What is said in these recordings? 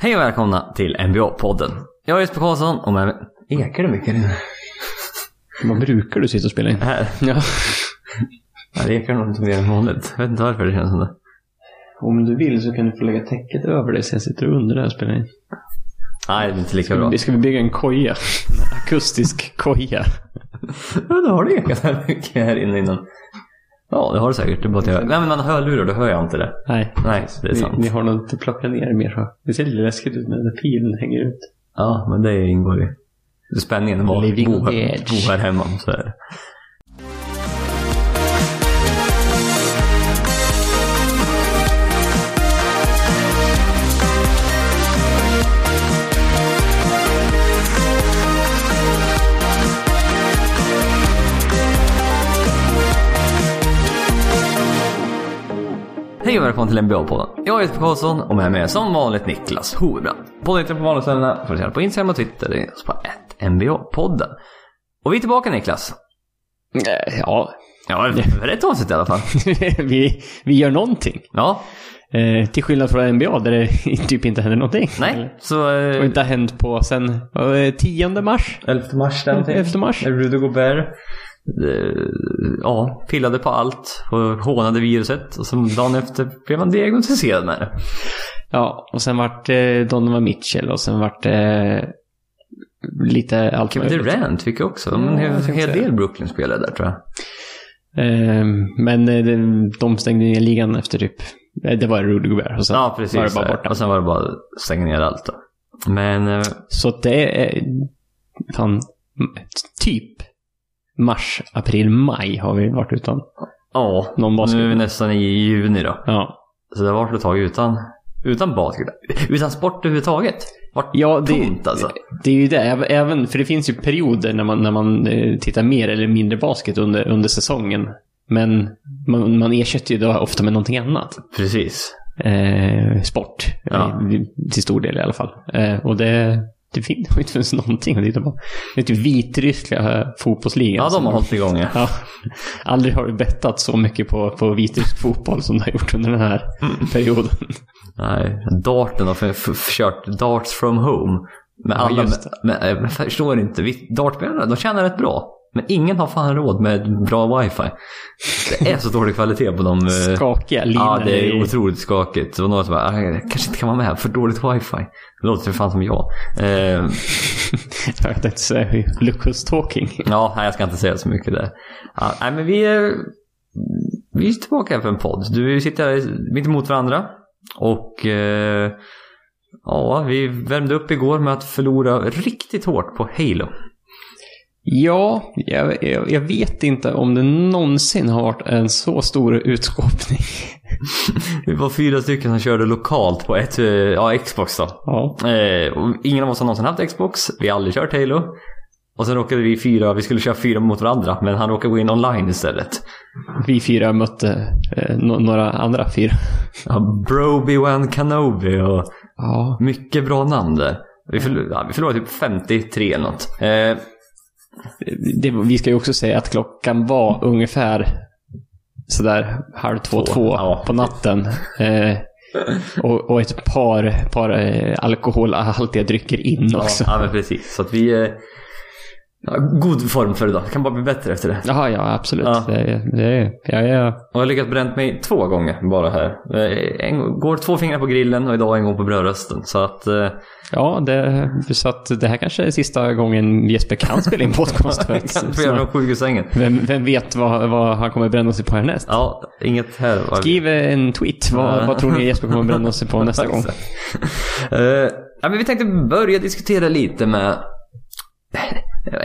Hej och välkomna till NBA-podden. Jag är Jesper Karlsson och med mig... Ekar det mycket nu? Vad brukar du sitta och spela in? Här. Äh, Ja. Ja, det ekar nog inte mer än vanligt. Jag vet inte varför det känns som det. Om du vill så kan du få lägga täcket över dig så jag sitter under där och spelar in. Nej, det blir inte lika bra. Vi ska vi bygga en koja. En akustisk koja. Ja, då har det ekat här mycket här inne innan. Ja, det har det säkert. Det är bara att jag... Nej, men man hör lurar, då hör jag inte det. Nej. Nej, det är Vi, sant. vi har något att plocka ner mer så. Det ser lite läskigt ut när pilen hänger ut. Ja, men det ingår i spänningen var Living bo här, on the edge. bo här hemma. Så är det. Hej och välkommen till NBA-podden. Jag heter Jesper Karlsson och med mig är som vanligt Niklas Hovebrand. Podden hittar du på vanliga ställena. Får du se på Instagram och Twitter. Det är oss på 1NBA-podden. Och vi är tillbaka Niklas. Nej, Eh, Ja, Ja, det är rätt avsnitt i alla fall. vi, vi gör någonting. Ja, Eh, till skillnad från NBA där det typ inte händer någonting. nej. Eller- Så... Och Eh, inte har hänt på sen eh, 10 mars. 11 mars någonting. 11 mars. Rudy Gobert. eh, Ja, pillade på allt och hånade viruset. Och sen dagen efter blev han diagnostiserad med det. Ja, och sen vart eh, Donovan Mitchell och sen vart eh, lite allt Kevin Durant fick ju också. Ja, En hel, jag tänkte hel säga del Brooklyn spelade där tror jag. Ehm, Men eh, de- de stängde ner ligan efter typ... eh, Det var Rudy Gobert och sen Ja, precis. var det bara där. borta. Och sen var det bara att stänga ner allt då. Men eh, Så att det är... eh, Fan, m- typ mars, april, maj har vi varit utan. ja, Någon basket. nu är vi nästan i juni då. Ja, Så det har varit ett tag utan, utan basket. Utan sport överhuvudtaget. Vart ja det, tomt alltså. det är ju det. Äv- Även, för det finns ju perioder när man, när man eh, tittar mer eller mindre basket under, under säsongen. Men man, man ersätter ju det ofta med någonting annat. Precis. eh, sport. Ja. Eh, Till stor del i alla fall. Eh, och det, det fin- det har inte funnits någonting att titta på. Det är typ Vitryska fotbollsligan. Ja, de som- har hållit igång. ja. Ja. Aldrig har du bettat så mycket på, på vitrysk fotboll som du har gjort under den här Mm. perioden. Nej, darten har för- för- för- kört darts from home. Med Ja, alla, just med, med, jag förstår inte. Vi- Dartspelarna, de tjänar rätt bra. Men ingen har fan råd med bra wifi. Det är så dålig kvalitet på de... eh, Skakiga linor. Ja, det i- är otroligt skakigt. Det var några som bara, "Ah, jag kanske inte kan vara med, här, för dåligt wifi. Det låter för fan som jag. Eh, jag tänkte säga Lucas Talking. ja, nej, jag ska inte säga så mycket där. Ja, nej, men vi är, vi är tillbaka här för en podd. Du sitter här mitt emot varandra. Och eh, ja, vi värmde upp igår med att förlora riktigt hårt på Halo. Ja, jag, jag, jag vet inte om det någonsin har varit en så stor utskåpning. Vi var fyra stycken som körde lokalt på ett, eh, ja, Xbox då. Ja. Eh, och ingen av oss har någonsin haft Xbox. Vi har aldrig kört Halo. Och sen råkade vi fyra, vi skulle köra fyra mot varandra, men han råkade gå in online istället. Vi fyra mötte eh, no- några andra fyra. Ja, Broby Wan Kenobi och Ja, mycket bra namn där. Vi, förl- ja, vi förlorade typ 53 eller något. Eh, det, vi ska ju också säga att klockan var ungefär sådär halv två, två, ja. på natten. Eh, och, och ett par, par eh, alkoholhaltiga drycker in också. ja, men precis. Så att vi... Eh, ja, god form för idag. Det kan bara bli bättre efter det. Jaha, ja absolut. Ja. Det, det, ja, ja. Och jag har lyckats bränt mig två gånger bara här. Eh, en, går två fingrar på grillen och idag en gång på brödrösten. Så att... Eh, ja det, så att det här kanske är sista gången Jesper kan spela in podcast. för att- kanske jag från sjukhusängen. vem, vem vet vad, vad han kommer bränna sig på härnäst? Ja, inget här. var- Skriv eh, en tweet. Vad, Ja. vad tror ni Jesper kommer bränna sig på nästa gång? Eh, ja, men vi tänkte börja diskutera lite med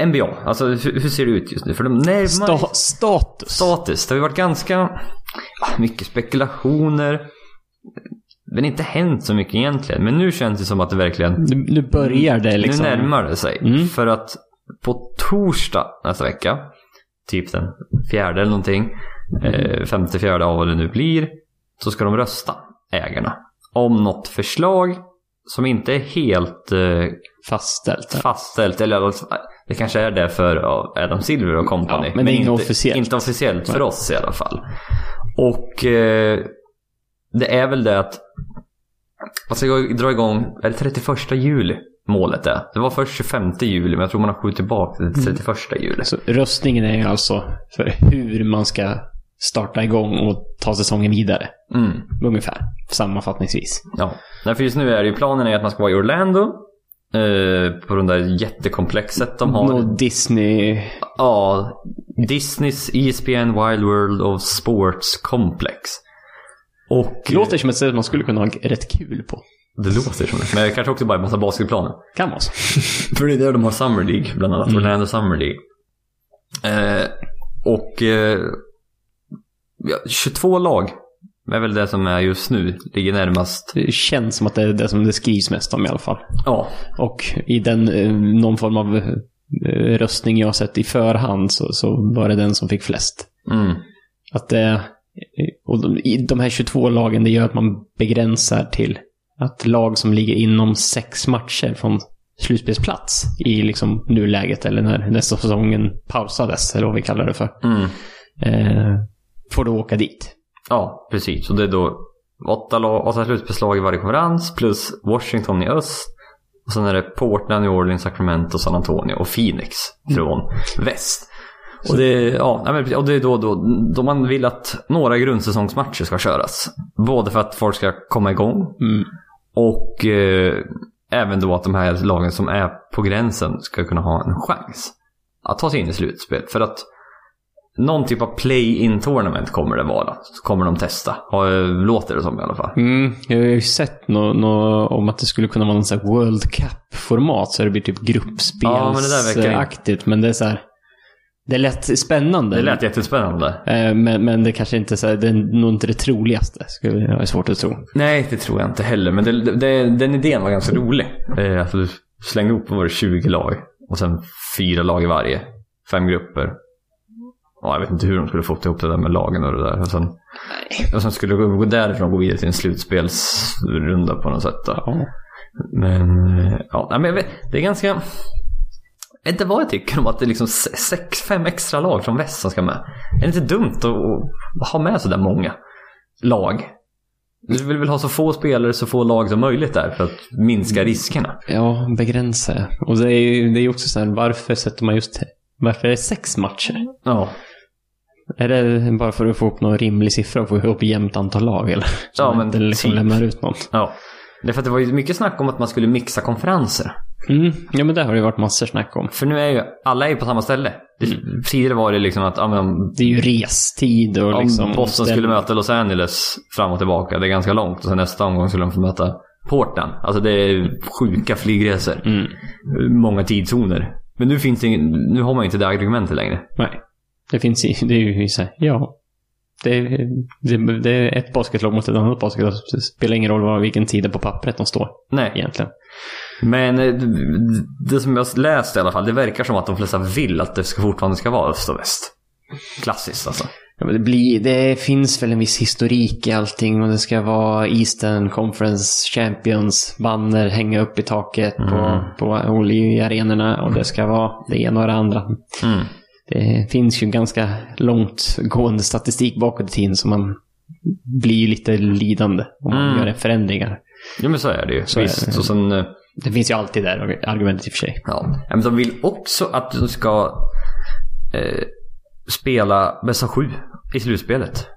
NBA. Alltså hur, hur ser det ut just nu? För de närmar Sta, status. status. Det har ju varit ganska ja, mycket spekulationer. Men inte hänt så mycket egentligen. Men nu känns det som att det verkligen... Nu, nu börjar det liksom. Mm. Nu närmar det sig. Mm. För att på torsdag nästa vecka, typ den fjärde eller någonting, eh, femte, fjärde av vad det nu blir, så ska de rösta, ägarna, om något förslag som inte är helt eh, fastställt. fastställt. Eller alltså, det kanske är det för ja, Adam Silver och company. Ja, men det är inget officiellt. Inte officiellt för Nej. oss i alla fall. Och eh, det är väl det att man ska gå- dra igång, är det 31 juli målet är? Det var först 25 juli, men jag tror man har skjutit tillbaka Mm. till 31 juli. Så röstningen är ju alltså för hur man ska starta igång och ta säsongen vidare. Mm. Ungefär. Sammanfattningsvis. Ja. Nej, för just nu är det ju planen är att man ska vara i Orlando. eh, på det där jättekomplexet de har. Nå Disney... Ja, Disneys E ESPN Wild World of Sports Complex. Och... Det låter som ett ställe man skulle kunna ha rätt kul på. Det låter som det. Men det kanske också bara är en massa basketplaner. Kan vara så. För det är där de har Summer League, bland annat. Mm. Orlando Summer League. Eh, och... Eh, ja, 22 lag är väl det som är just nu. Ligger närmast. Det känns som att det är det som det skrivs mest om i alla fall. Ja, Och i den, eh, någon form av eh, röstning jag har sett i förhand så, så var det den som fick flest. mm, Att det, och de, i de här 22 lagen, det gör att man begränsar till att lag som ligger inom sex matcher från slutspelsplats i liksom nuläget eller när nästa säsongen pausades, eller vad vi kallar det för, mm. eh, får då åka dit. Ja, precis. Och det är då åtta, lag, åtta slutspelslag i varje konferens plus Washington i öst. Och sen är det Portland, New Orleans, Sacramento, San Antonio och Phoenix från väst. Mm. Och det, ja, nej, men precis. och det är då, då, då man vill att några grundsäsongsmatcher ska köras. Både för att folk ska komma igång Mm. och eh, även då att de här lagen som är på gränsen ska kunna ha en chans att ta sig in i slutspel. För att någon typ av play-in tournament kommer det vara. Så kommer de testa. Ja, eh, Låter det som i alla fall. Mm, jag har ju sett något nå om att det skulle kunna vara någon sån här World Cup-format så det blir typ Ja, men det där verkar ju- gruppspelsaktigt. men det är så här, det lät spännande. Det lät jättespännande. Eh, Men, men det kanske inte är så här, det är nog inte det troligaste. Skulle jag är svårt att tro. Nej, det tror jag inte heller. Men det, det, den idén var ganska rolig. Eh, Alltså, du slängde ihop vad var det 20 lag och sen fyra lag i varje. Fem grupper. Ja, jag vet inte hur de skulle fått ihop det där med lagen och det där. Och sen, och sen skulle de gå därifrån och gå vidare till en slutspelsrunda på något sätt. Då. Ja. Men, eh, ja, nej, men jag vet, det är ganska... Jag vet inte vad jag tycker om att det är liksom se- sex, fem extra lag från väst som ska med. Är det inte dumt att, att ha med så där många lag? Du vill väl ha så få spelare, så få lag som möjligt där för att Mm. minska riskerna. ja, begränsa. Och det är ju det är ju också så här, varför sätter man just varför är det sex matcher? Ja, Är det bara för att få upp någon rimlig siffra och få ihop jämnt antal lag? Eller? Så Ja, man men inte liksom typ. lämnar ut någon. ja. Därför att det var ju mycket snack om att man skulle mixa konferenser. Mm. Ja, men det har det ju varit massor snack om. För nu är ju alla är ju på samma ställe. Mm. Det- Tidigare var det liksom att ja, men om Det är ju restid och liksom... Om Boston skulle möta Los Angeles fram och tillbaka, det är ganska långt. Och sen nästa omgång skulle de få möta Portland. Alltså det är sjuka flygresor. Mm. Många tidszoner. Men nu, finns det ingen, nu har man ju inte det argumentet längre. Nej. Det finns ju, det är ju så här, ja. Det, är- det, det är ett basketlag mot ett annat basketlag. Det spelar ingen roll vad, vilken tid det är på pappret de står Nej. egentligen. Men eh, det som jag läst i alla fall, det verkar som att de flesta vill att det ska, fortfarande ska vara öst och väst. Klassiskt alltså. Ja, men det, blir, det finns väl en viss historik i allting och det ska vara Eastern Conference Champions banner hänga upp i taket på, Mm. på håll i arenorna och det ska vara det ena och det andra. Mm. Det finns ju ganska långtgående statistik bakåt i tiden så man blir ju lite lidande om man Mm. gör förändringar. Jo men så är det ju. Så är Visst. det. Och sen... eh, Det finns ju alltid där argumentet i och för sig. Ja, men de vill också att de ska eh, spela bästa sju i slutspelet.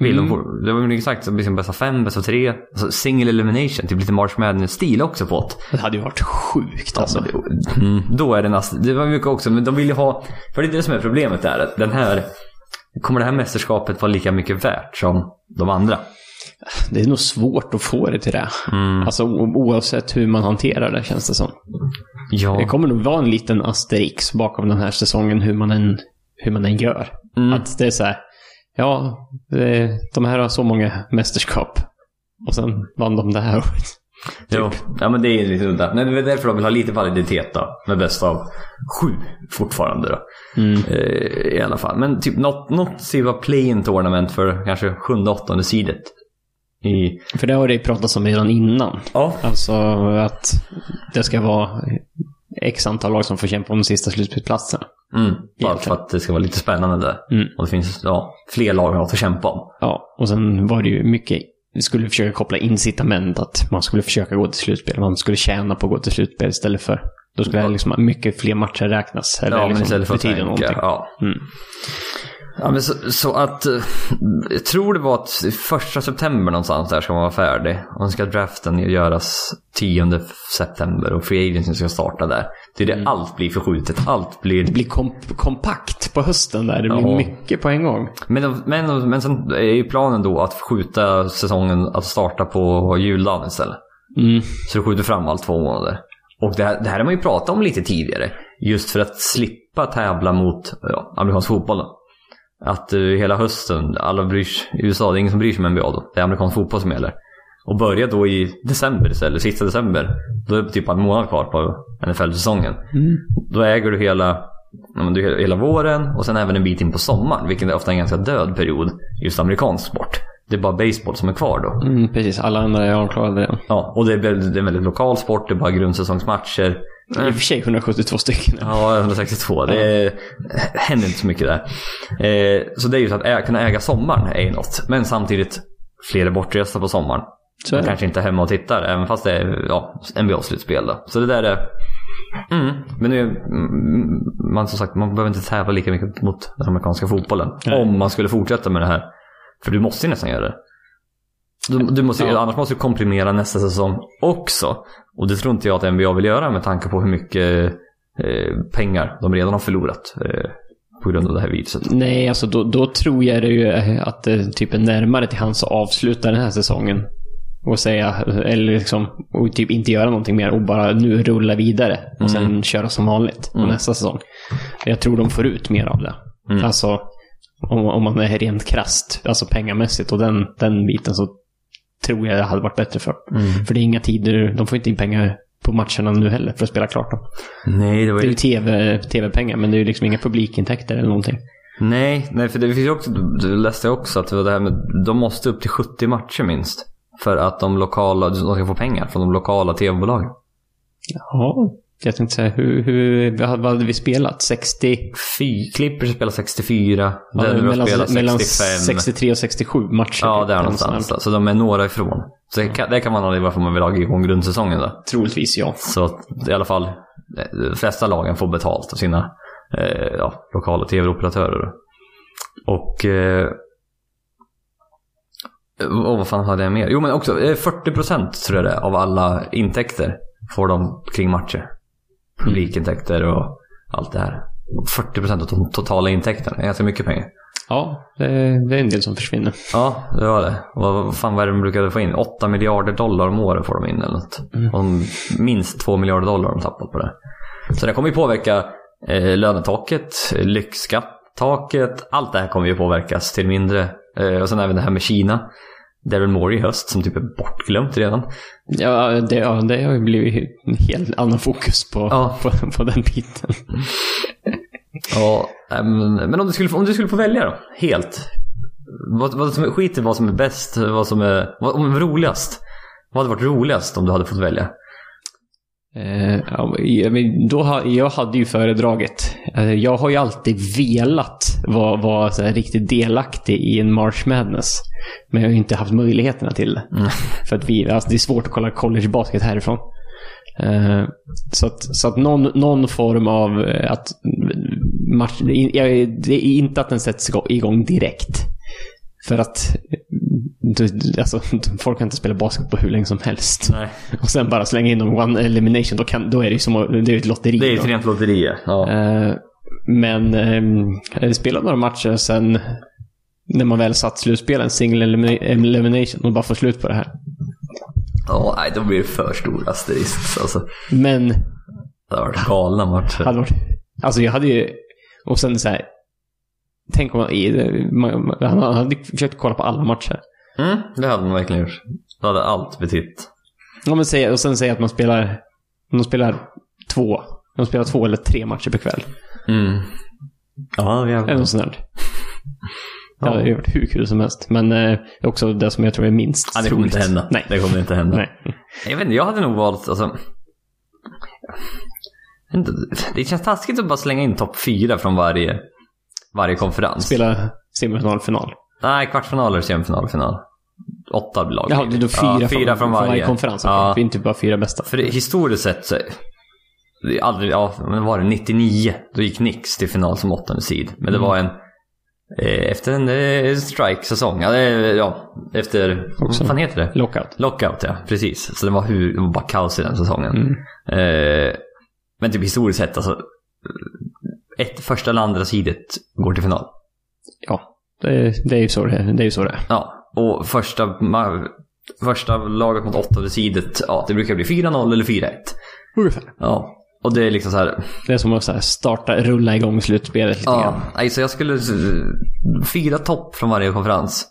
Vill Mm. de få, det var väl exakt liksom bästa fem, bästa tre. Alltså single elimination, typ lite March Madness-stil också på ett. Det hade ju varit sjukt Alltså, alltså. det- mm, då är det nästan, det var mycket också, men de vill ju ha, för det är det som är problemet där. att Den här, kommer det här mästerskapet vara lika mycket värt som de andra? Det är nog svårt att få det till det. Mm, Alltså o- oavsett hur man hanterar det känns det som. Det ja. kommer nog vara en liten asterix bakom den här säsongen hur man än, hur man än gör. Mm, Att det är så här, ja, eh, de här har så många mästerskap. Och sen vann de det här året. jo. Ja men det är lite udda. Nej, Det är därför de vill ha lite validitet då. Med bästa av sju fortfarande då. Eh, I alla fall. Men typ något, något silva play-in tournament för kanske sjunde, åttonde sidet. I, För det har det ju pratats om redan innan. ja. Alltså att det ska vara x antal lag som får kämpa om de sista slutspelsplatserna. Mm, bara för Egentligen. att det ska vara lite spännande där. Mm. Och det finns ja, fler lag att kämpa om. Ja, och sen var det ju mycket skulle försöka koppla incitament att man skulle försöka gå till slutspel. Man skulle tjäna på att gå till slutspel istället för... Då skulle Ja. liksom mycket fler matcher räknas. Eller ja, men liksom istället för att betyda tänka. någonting. Ja. Mm. Ja, men så, så att... eh, Jag tror det var att första september någonstans där ska man vara färdig. Och sen ska draften göras 10 september och free agency ska starta där. Det är det allt blir förskjutet. Allt blir... Mm. Det blir komp- kompakt på hösten där. Det blir Ja. mycket på en gång. Men, de- men, men sen är ju planen då att skjuta säsongen att starta på juldagen istället. Mm. Så du skjuter fram allt två månader. Och det här, det här har man ju pratat om lite tidigare. Just för att slippa tävla mot ja, amerikansk fotboll. då. Att eh, hela hösten, alla bryr sig, i USA, det är ingen som bryr sig om NBA då. Det är amerikansk fotboll som gäller. Och börja då i december istället, sista december. Då är det typ en månad kvar på NFL-säsongen. Mm. Då äger du hela, ja, men du, hela våren och sen även en bit in på sommaren. Vilket är ofta en ganska död period, just amerikansk sport. Det är bara baseball som är kvar då. Mm, precis, alla andra är avklarade redan. Ja, och det är, väldigt, det är en väldigt lokal sport, det är bara grundsäsongsmatcher. I och för sig 172 stycken. Ja, 162. Det är, händer inte så mycket där. Eh, så det är ju så att ä- kunna äga sommaren är ju något. Men samtidigt, fler är bortresta på sommaren. Så är Man det. kanske inte är hemma och tittar, även fast det är ja, NBA-slutspel. då. Så det där är... Mm. Men nu, mm, man som sagt, man behöver inte tävla lika mycket mot den amerikanska fotbollen. Nej. Om man skulle fortsätta med det här. För du måste ju nästan göra det. Du, du måste, ju- Ja. Annars måste du komprimera nästa säsong också. Och det tror inte jag att NBA vill göra med tanke på hur mycket eh, pengar de redan har förlorat eh, på grund av det här viruset. Nej, alltså då, då tror jag det ju eh, att det typ är närmare till hans att avsluta den här säsongen. Och säga, eller liksom, och typ inte göra någonting mer och bara nu rulla vidare. Och sen köra som vanligt på Mm. nästa säsong. Jag tror de får ut mer av det. Mm. Alltså, om, om man är rent krasst, alltså pengamässigt och den, den biten så tror jag det hade varit bättre för. Mm. För det är inga tider, de får inte in pengar på matcherna nu heller för att spela klart dem. Nej, det var Det är ju ju TV, tv-pengar, men det är ju liksom inga publikintäkter eller någonting. Nej, nej för det finns ju också, det läste jag också att det var det här med, de måste upp till 70 matcher minst. För att de lokala, de ska få pengar från de lokala tv-bolagen. Ja, jag tänkte säga, hur, hur, vad hade vi spelat? 60? Fy, Clippers spelar 64, Ja, Denver har spelat 65. mellan 63 och 67 matcher. ja, där Eller någonstans. sånt Då. Så de är några ifrån. Så det kan, det kan man ha varför man vill ha igång grundsäsongen då. där. Troligtvis ja. Så att i alla fall, eh, de flesta lagen får betalt av sina eh, ja, lokala tv-operatörer. Och... Eh, oh, vad fan hade jag mer? Jo, men också eh, 40% tror jag det är, av alla intäkter får de kring matcher. Publikintäkter och allt det här. 40% av de totala intäkterna. Det är ganska mycket pengar. Ja, det, det är en del som försvinner. Ja, det var det. Och Vad vad fan vad är det de brukade få in? 8 miljarder dollar om året får de in eller något. Mm. Och de- minst 2 miljarder dollar har de tappat på det. Så det kommer ju påverka eh, lönetaket, eh, lyxskattaket. Allt det här kommer ju påverkas till mindre. Eh, och sen även det här med Kina. Daryl Morey i höst som typ är bortglömt redan. Ja, det, ja, det har ju blivit en helt annan fokus på, Ja. på, på den biten. Ja, eh, men men om, du skulle, få- om du skulle få välja då, helt. Vad, vad som, skit i vad som är bäst, vad som är, vad, om roligast. Vad hade varit roligast om du hade fått välja? Eh, ja, men då, ha- jag hade ju föredragit. Eh, jag har ju alltid velat vara, vara så här riktigt delaktig i en March Madness. Men jag har ju inte haft möjligheterna till det. Mm. För att vi, alltså det är svårt att kolla collegebasket härifrån. Eh, så att, så att någon, någon form av eh, att match, jag, det är inte att den sätts igång- igång direkt. För att eh, du, du- alltså, folk kan inte spela basket på hur länge som helst. Nej. Och sen bara slänga in dem one elimination, då, kan, då är det ju som att- det är ju ett lotteri. Det är ju då. ett rent lotteri. Ja. Eh, men eh, spela några matcher och sen när man väl satt slutspelen, single elimina- elimination, och bara få slut på det här. Ja, nej, då blir det för stor asterisk. Alltså, Men det har varit galna matcher. hade varit, alltså jag hade ju, och sen så här, tänk om man, i- man, man- han hade ju försökt kolla på alla matcher. Mm, det hade man verkligen gjort. Det hade allt betytt. Om man säger, och sen säga att man spelar, om de spelar två, de spelar två eller tre matcher per kväll. Mm. Ja, Eller jävlar. något sånt där. Det Ja. hade ju varit hur kul som helst. Men eh, också det som jag tror är minst Ja, det kommer troligt. inte hända. Nej. Det kommer inte hända. Nej. Jag vet inte, jag hade nog valt, alltså. inte- Det känns taskigt att bara slänga in topp fyra från varje, varje konferens. Spela semifinal, final. Nej, kvartsfinaler, semifinal, final. åtta lag. Jaha, det är då fyra, ja, fyra från varje. konferens. Ja. Ja. Inte bara fyra bästa. För det- historiskt sett så... Det är aldrig, ja, men var det 99? Då gick Nix till final som åttonde seed. Men det Mm. var en... Eh, efter en eh, strike-säsong. Ja, det, ja, efter... Också. Vad fan heter det? Lockout. Lockout, ja. Precis. Så det var, hur, det var bara kaos i den säsongen. Mm. Eh, men typ historiskt sett, alltså. Ett, första eller andra sidet går till final. Ja, det, det är ju så det är. Det är, ju så det är. Ja, och första, ma- första laget mot åttonde sidet, ja, det brukar bli 4-0 eller 4-1. Ungefär. Ja, och det är liksom så här. Det är som att så här, starta, rulla igång slutspelet lite Ja, grann. nej, så jag skulle s- fyra topp från varje konferens.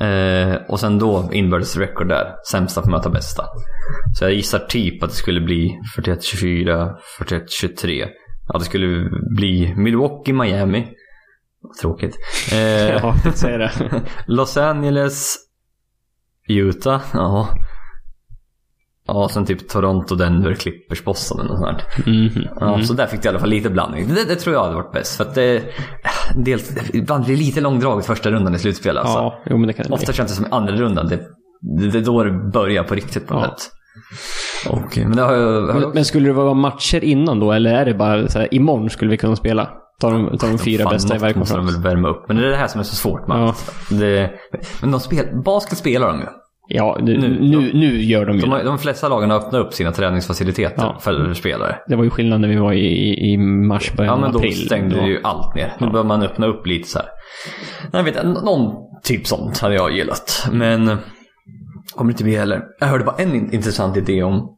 Eh, och sen då inbördes record där. Sämsta får möta bästa. Så jag gissar typ att det skulle bli 41-24, 41-23. Ja, det skulle bli Milwaukee, Miami. Tråkigt. Eh, Ja, jag säger det. Los Angeles, Utah. Ja. Ja, sen typ Toronto, Denver, Clippers, Boston eller något sånt. där. Mhm. Ja, Så där fick du i alla fall lite blandning. Det, det tror jag hade varit bäst. För att det, dels, ibland blir det lite långdraget första rundan i slutspel. Alltså. Ja, jo men det kan det bli. Ofta känns det som i andra rundan. Det, det, det är då det börjar på riktigt på något Ja. sätt. Och, men det har jag... Har Men, jag men skulle det vara matcher innan då, eller är det bara så här, imorgon skulle vi kunna spela? Ta de, ta de fyra fan, bästa i något varje måste de konferens. väl värma upp. Men det är det här som är så svårt med Ja. allt. det, Men de spel, basket spelar de ju. Ja, nu, Nu- nu, nu gör de ju De, det. har, de flesta lagen har öppnat upp sina träningsfaciliteter Ja. för spelare. Det var ju skillnad när vi var i, i, i mars, Ja början men av då Eh, april. stängde Då- ju allt ner. Nu bör man öppna upp lite så här. Nej, jag vet, n- någon typ sånt hade jag gillat. Men eh, kommer det inte bli heller. Jag hörde bara en in- intressant idé om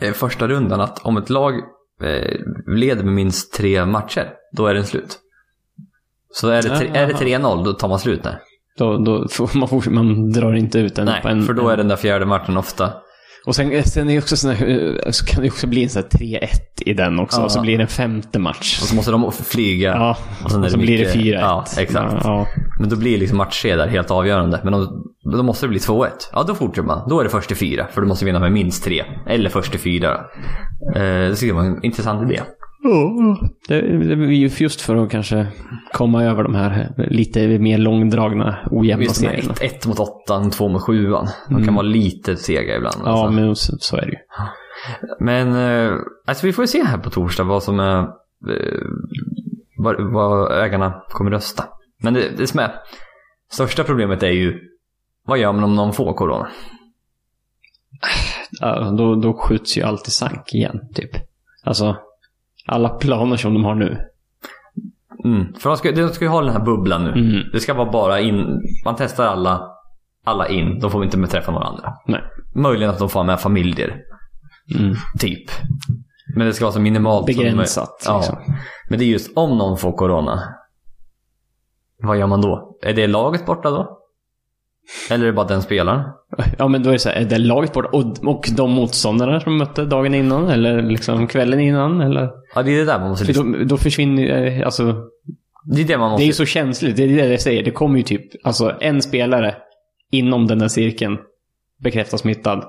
eh, första rundan. Att om ett lag eh, leder med minst tre matcher, då är den slut. Så är det, tre, är det Aha. 3-0, då tar man slut där. Då, då får man, fortsätter, man drar inte ut den. på Nej, en, för då är den där fjärde matchen ofta. Och sen, sen är det också sån här, eh, så kan det också bli en sån här 3-1 i den också. Ja. Och så blir det en femte match. Och så måste de flyga. Ja, Och sen är och så det blir det mycket- 4-1. Ja, exakt. Ja, Men då blir liksom match tre där helt avgörande. Men om, då måste det bli 2-1. Ja, då fortsätter man. Då är det först till fyra. För du måste vinna med minst tre. Eller först till fyra. då. Eh, det tycker jag var en intressant idé. Oh, Det, det är ju just för att kanske komma över de här lite mer långdragna, ojämna Just med serierna. ett, ett mot åttan, två mot sjuan. De kan vara lite sega ibland. Ja, alltså. men så, så är det ju. Men eh, alltså, vi får ju se här på torsdag vad som är... Eh, vad, vad ägarna kommer rösta. Men det, det som är... Största problemet är ju... Vad gör man om någon får corona? Ja, då, då skjuts ju allt i sank igen, typ. Alltså, alla planer som de har nu. Mm. För de ska, de ska ju ha den här bubblan nu. Mm. Det ska vara bara in. Man testar alla, alla in. De får inte träffa några andra. Nej. Möjligen att de får ha med familjer, Mm. typ. Men det ska vara så minimalt som Begränsat, möjligt. liksom. Ja. Men det är just om någon får corona. Vad gör man då? Är det laget borta då? Eller är det bara den spelaren? Ja, men då är det så här, är det laget borta? Och, och de motståndarna som mötte dagen innan? Eller liksom kvällen innan? Eller? Ja, det är det där man måste... För då, då försvinner ju, eh, alltså, Det är det man måste... Det är ju så känsligt. Det är det jag säger. Det kommer ju typ, alltså en spelare inom den där cirkeln bekräftas smittad.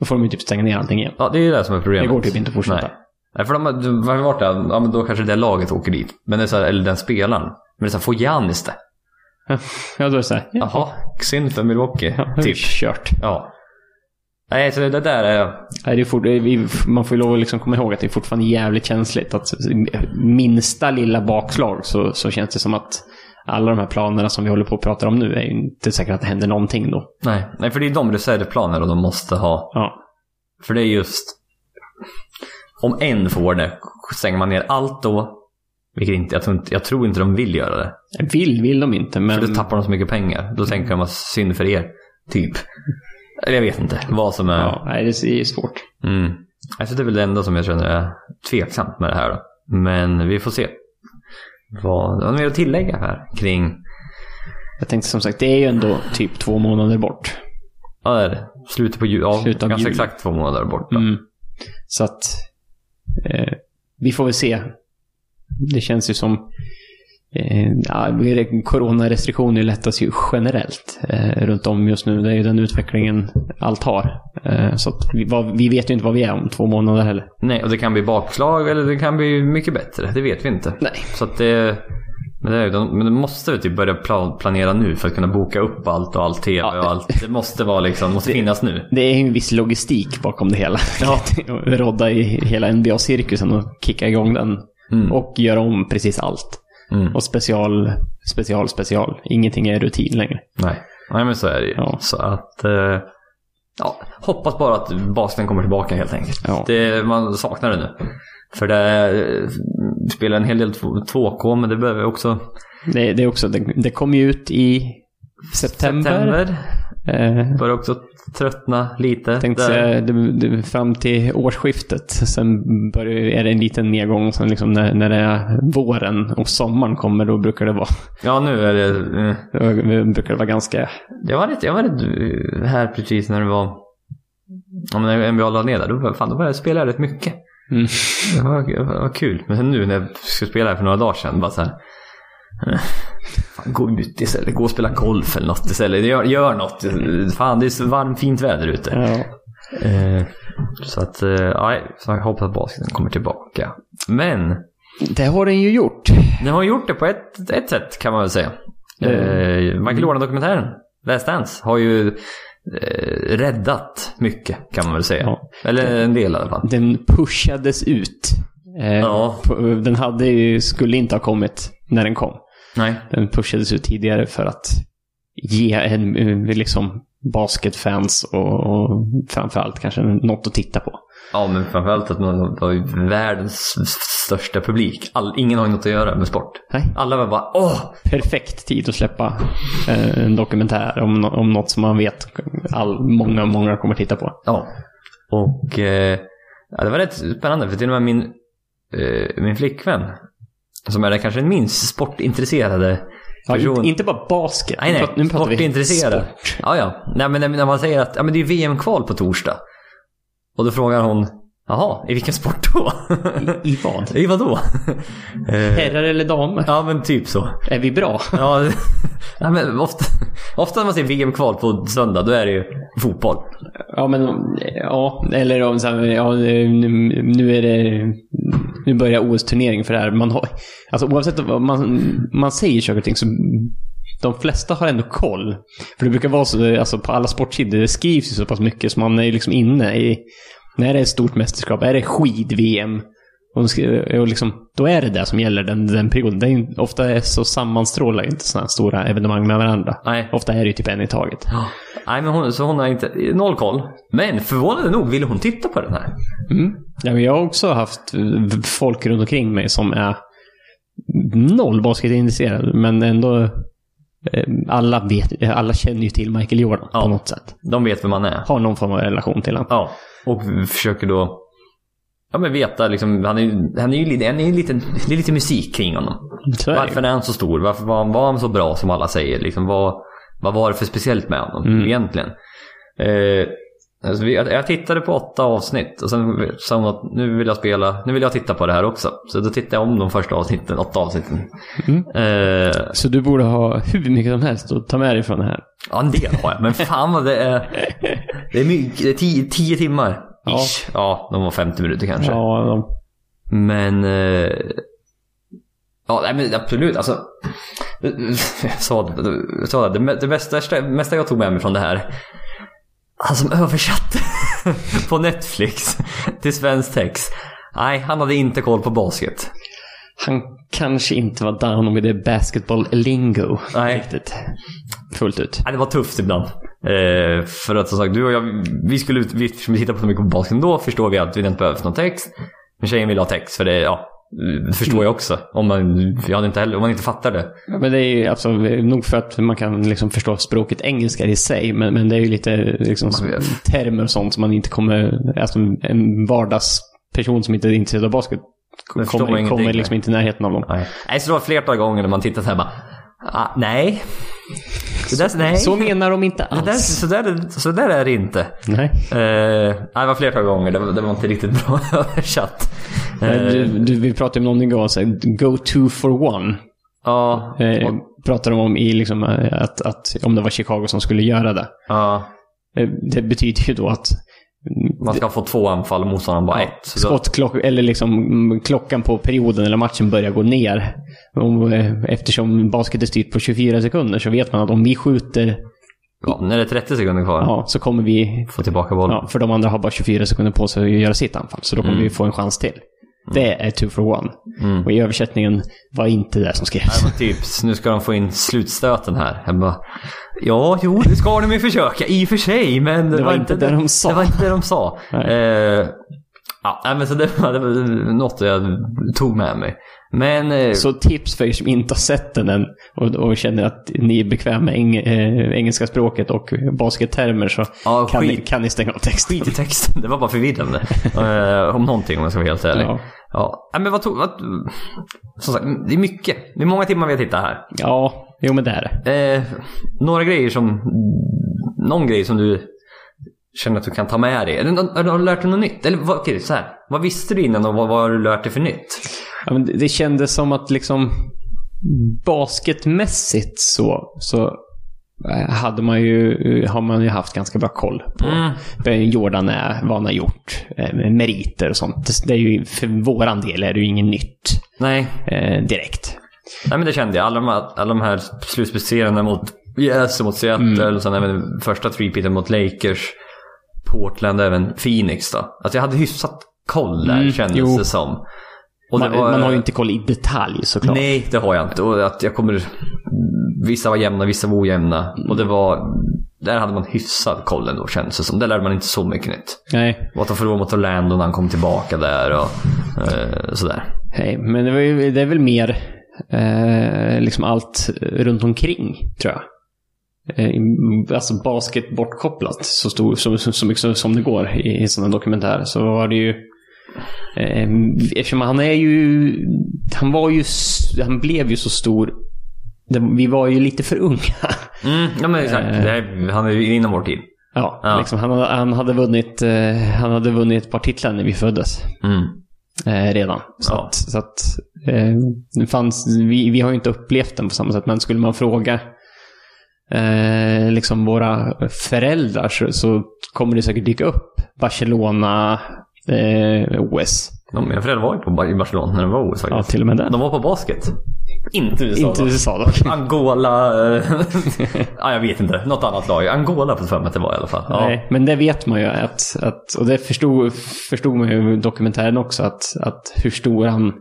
Då får de ju typ stänga ner allting igen. Ja, det är ju det som är problemet. Det går typ inte att fortsätta. Nej. Nej, för de har de har varit där, ja men då kanske det laget åker dit. Men det är så här, eller den spelaren. Men det är så här, får Giannis det? Ja, då är det såhär. Ja, Jaha, synd för Milwaukee. ja, typ. typ. kört. Ja. Nej, så det där är... Nej, det är fort, vi- man får ju lov att liksom komma ihåg att det är fortfarande jävligt känsligt. Att minsta lilla bakslag så, så känns det som att alla de här planerna som vi håller på att prata om nu är ju inte säkert att det händer någonting då. Nej, nej för det är de reservplanerna de måste ha. Ja. För det är just... Om en får det, stänger man ner allt då. Vilket inte, jag tror inte, jag tror inte de vill göra det. Vill vill de inte, men... För då tappar de så mycket pengar. Då tänker de att synd för er, typ. Eller jag vet inte vad som är... ja, nej, det är svårt. Mm. Alltså det är väl det enda som jag känner är tveksamt med det här då. Men vi får se. Vad har du mer att tillägga här kring... Jag tänkte som sagt, det är ju ändå typ två månader bort. Ja, det är det. Slutet på jul. Ja, Slutet av ganska jul. exakt två månader borta. Mm. Så att eh, vi får väl se. Det känns ju som eh, ja, re- coronarestriktioner lättas ju generellt eh, runt om just nu. Det är ju den utvecklingen allt har. Eh, så att vi, vad, vi vet ju inte vad vi är om två månader heller. Nej, och det kan bli bakslag eller det kan bli mycket bättre. Det vet vi inte. Nej. Så att det... Men det, är, ju- de, men de måste väl typ börja plan, planera nu för att kunna boka upp allt och allt tv Ja. och allt. Det måste vara liksom, det måste finnas nu. Det är ju en viss logistik bakom det hela. Rodda i hela NBA-cirkusen och kicka igång den. Mm. Och göra om precis allt. Mm. Och special, special, special. Ingenting är rutin längre. Nej. Nej, men så är det ju. Ja. Så att... Eh, ja, hoppas bara att basen kommer tillbaka helt enkelt. Ja. Det, man saknar det nu. För det eh, spelar en hel del 2K, men det behöver vi också. Det, det, är också, det, det kom ju ut i september. September Eh, börjar också tröttna lite. tänkte Där. säga, det, det, fram till årsskiftet. Sen börjar, är det en liten nedgång. Sen liksom när, när det är våren och sommaren kommer, då brukar det vara, Ja, nu är det... Eh, då brukar det vara ganska... Jag var rätt, jag var rätt eh, här precis när det var... Ja, men när NBA la ner där, då, var- fan, då började jag spela rätt mycket. Mm. Det var, det var kul. Men sen nu när jag skulle spela här för några dagar sedan, bara så här... eh, Fan, gå ut istället. Gå och spela golf eller något istället. Gör, gör något. Fan, det är så varmt, fint väder ute. Ja. Eh, så att, eh, ja, så jag hoppas att basketen kommer tillbaka. Men, Det har den ju gjort. den har gjort det på ett, ett sätt kan man väl säga. Mm. Eh, Michael Jordan-dokumentären, Last Dance, har ju eh, räddat mycket kan man väl säga. Ja. Eller en del i alla fall. Den pushades ut. Eh, Ja. på- Den hade ju, skulle inte ha kommit när den kom. Nej. Den pushades ut tidigare för att ge en, eh, liksom basketfans och, och framförallt kanske något att titta på. Ja, men framförallt att man har ju världens största publik. All, ingen har ju något att göra med sport. Nej. Alla var bara åh! Perfekt tid att släppa eh, en dokumentär om, nå- om något som man vet all, många, många kommer titta på. Ja. Och eh, ja, det var rätt spännande för till och med min, eh, min flickvän, som är den kanske minst sportintresserade Ja, person. inte, inte bara basket. Nej, Nu nej. pratar- nu pratar vi Sportintresserad. sport. Ja, ja. Nej, men när man säger att ja, men det är VM-kval på torsdag. Och då frågar hon, jaha, i vilken sport då? I, I vad? I vadå? Eh, Herrar eller damer? ja, men typ så. Är vi bra? Ja, nej, men ofta, ofta när man ser VM-kval på söndag, då är det ju fotboll. Ja, men ja, eller om så här, ja, nu, nu är det, nu börjar OS-turnering för det här. Man har, alltså oavsett vad man, man säger saker och ting så de flesta har ändå koll. För det brukar vara så, alltså på alla sportsidor, det skrivs ju så pass mycket så man är ju liksom inne i, när det är ett stort mästerskap, är det skid-VM, och, de skri- och liksom, då är det det som gäller den, den perioden. Det är, ju- ofta är så sammanstrålar ju inte sådana här stora evenemang med varandra. Nej. Ofta är det ju typ en i taget. Nej, men hon, så hon har inte noll koll. Men förvånande nog ville hon titta på den här. Mm. Ja, men jag har också haft eh, v- folk runt omkring mig som är noll basketintresserade, men ändå eh, alla, vet, eh, alla känner ju till Michael Jordan Ja. på något sätt. De vet vem man är. Har någon form av relation till honom. Ja, och försöker då ja, men veta liksom, han är, ju- han är ju lite, han är ju lite, det är lite musik kring honom. Så är det ju. Varför är han så stor? Varför var han, var han så bra som alla säger? Liksom, vad, vad var det för speciellt med honom Mm. egentligen? Eh, alltså vi, jag, jag tittade på åtta avsnitt och sen sa hon att nu vill jag spela, nu vill jag titta på det här också. Så då tittade jag om de första avsnitten, åtta avsnitten. Mm. Eh, Så du borde ha hur mycket som helst att ta med dig från det här. ja, en del har jag, men fan vad det är. Det är mycket, det är tio, tio timmar. Ja. Ish. ja, de var 50 minuter kanske. Ja, de- Men... Eh, ja, nej, men absolut. Alltså, jag sa, det- jag sa det, det, det bästa, det mesta jag tog med mig från det här. Han som översatte på Netflix till svensk text. Nej, han hade inte koll på basket. han kanske inte var down with the basketball lingo Nej. riktigt. Fullt ut. Nej, det var tufft ibland. Eh, för att som sagt, du och jag, vi skulle, ut- vi, eftersom vi tittar på så mycket på basket då förstår vi att vi inte behöver någon text. Men tjejen vill ha text, för det, ja, det förstår jag också. Om man, jag hade inte heller, om man inte fattar det. Ja, Men det är ju alltså, nog för att man kan liksom förstå språket engelska i sig, men, men det är ju lite liksom, Man vet. termer och sånt som man inte kommer... Alltså en vardagsperson som inte är intresserad av basket Den förstår kommer, ingenting, kommer liksom inte i närheten av dem. Nej. Nej, så det var flertal gånger när man tittat här bara, ah, nej. Så där, nej. Så menar de inte det där, alls. så, där, så där är det inte. Nej. Eh, nej, det var flertal gånger, det var, det var inte riktigt bra översatt. Nej, Eh, Du, du, vi pratade om någon igår, så här, go to for one. Ja, Eh, och- pratade de om i liksom, eh, att, att om det var Chicago som skulle göra det. ja. Eh, Det betyder ju då att Man ska få två anfall och motståndaren bara ett. Så då- Skottklockan, eller liksom mm, klockan på perioden eller matchen börjar gå ner. Om, eh, eftersom basket är styrt på 24 sekunder så vet man att om vi skjuter ja, när det är 30 sekunder kvar, ja, så kommer vi... få tillbaka bollen. Ja, för de andra har bara 24 sekunder på sig att göra sitt anfall, så då kommer vi få en chans till. Det är two for one. Mm. Och i översättningen var inte det som skrevs. Nej, men typ, nu ska de få in slutstöten här. Jag bara, ja, jo, det ska de ju försöka i och för sig, men det, var inte det de sa. Det var inte det de sa. Nej. Eh, ja, nej, men så det var, det var något jag tog med mig. Men eh, Så tips för er som inte har sett den än och, och känner att ni är bekväma med eng, eh, engelska språket och baskettermer så Ja, kan, ni, skit. kan ni stänga av texten. skit i texten, det var bara förvirrande. Eh, om någonting om jag ska vara helt ärlig. Ja. Ja, nej, men vad tog... Vad, som sagt, det är mycket. Det är många timmar vi har tittat här. ja, jo men det är det. Eh, några grejer som... Någon grej som du känner att du kan ta med dig. Eller, nå- har du- har du lärt dig något nytt? Eller vad, okej, så här. vad visste du innan och vad, vad har du lärt dig för nytt? Ja, men det- det kändes som att liksom basketmässigt så, så eh, hade man ju, har man ju haft ganska bra koll på Mm. vad Jordan är, vad han har gjort, eh, meriter och sånt. Det- Det är ju, för våran del är det ju inget nytt Nej. eh, direkt. Nej, men det kände jag. Alla de, här- alla de här slutspelsserierna mot Yes och mot Seattle Mm. och sen även första three mot Lakers, Portland och även Phoenix då. Alltså jag hade hyfsat koll där Mm, kändes jo. det som. Och Man, det var- man har ju inte koll i detalj såklart. Nej, det har jag inte. Och att jag kommer... Vissa var jämna, vissa var ojämna. Och det var... Där hade man hyfsad koll ändå känns det som. Där lärde man inte så mycket nytt. Nej. Och att de förlorade mot Orlando när han kom tillbaka där och eh, sådär. Nej, men det, var ju, det är väl mer eh, liksom allt runt omkring, tror jag. Eh, i- alltså basket bortkopplat så, stor, så, så, så mycket som, som det går i, i sådana dokumentärer. Så var det ju... Eh, eftersom han är ju... Han var ju... s- Han blev ju så stor. Det, vi var ju lite för unga. Mm, ja men exakt. Det här, han är ju inom vår tid. Ja, Ja. Liksom, han, hade- han, hade vunnit, eh, han hade vunnit ett par titlar när vi föddes. Mm. eh, redan. Så Ja. att, så att eh, det fanns, vi, vi har ju inte upplevt den på samma sätt, men skulle man fråga eh, liksom våra föräldrar så, så kommer det säkert dyka upp Barcelona, eh, OS. De, mina föräldrar var ju på, Bar- i Barcelona när de var OS Ja, faktiskt. till och med den. De var på basket. Inte USA. Inte då. USA dock. Angola... eh, ja, jag vet inte. Något annat lag. Angola på för mig att det var i alla fall. Ja. Nej, men det vet man ju att, att och det förstod, förstod man ju i dokumentären också, att, att hur stor han,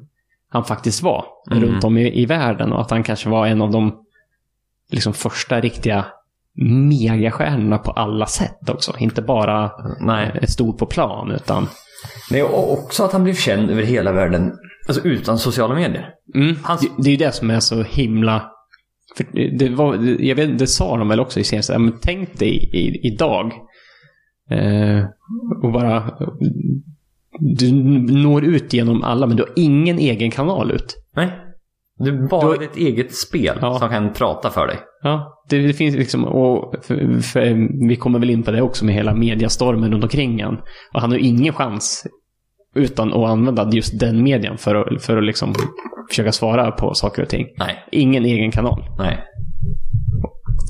han faktiskt var Mm. runt om i, i världen och att han kanske var en av de liksom, första riktiga megastjärnorna på alla sätt också. Inte bara Nej. eh, stor på plan, utan... Nej, och också att han blev känd över hela världen. Alltså utan sociala medier. Hans- Mm. Det, det är ju det som är så himla... För det, var, jag vet, det sa de väl också i senaste, men tänk dig i, idag eh, och bara... Du når ut genom alla, men du har ingen egen kanal ut. Nej. Du bara Du- ditt eget spel Ja. som kan prata för dig. Ja, det, det finns liksom, och för, för, vi kommer väl in på det också med hela mediastormen runt omkring han. Och han har ju ingen chans utan att använda just den median för att, för att liksom försöka svara på saker och ting. Nej, Ingen egen kanal. nej.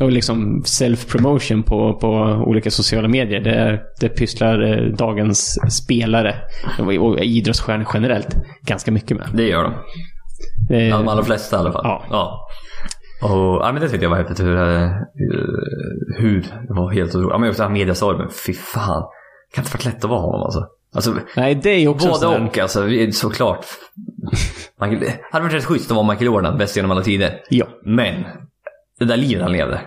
Och liksom self-promotion på, på olika sociala medier. Det, det pysslar eh, dagens spelare och och idrottsstjärnor generellt ganska mycket med. Det gör de. Eh, De allra flesta i alla fall. Ja. ja. Och, ja men det tyckte jag var häftigt hur, eh, hur det var helt otroligt. Ja, men just den här mediastormen. Fy fan. Det kan inte vara lätt att vara honom alltså. Alltså Nej, det är ju också både sån här- och alltså. Vi är Såklart. Michael, det hade varit rätt schysst att vara Michael Jordan, bäst genom alla tider. Ja. Men det där livet han levde.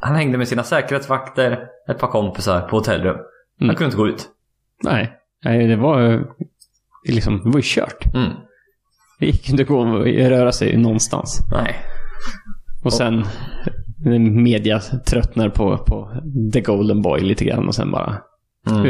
Han hängde med sina säkerhetsvakter, ett par kompisar på hotellrum. Han Mm. kunde inte gå ut. Nej. Nej, det var ju liksom, det var ju kört. Mm. Det gick inte att gå och röra sig någonstans. Nej. Och sen eh, media tröttnar på, på the golden boy lite grann och sen bara Mm.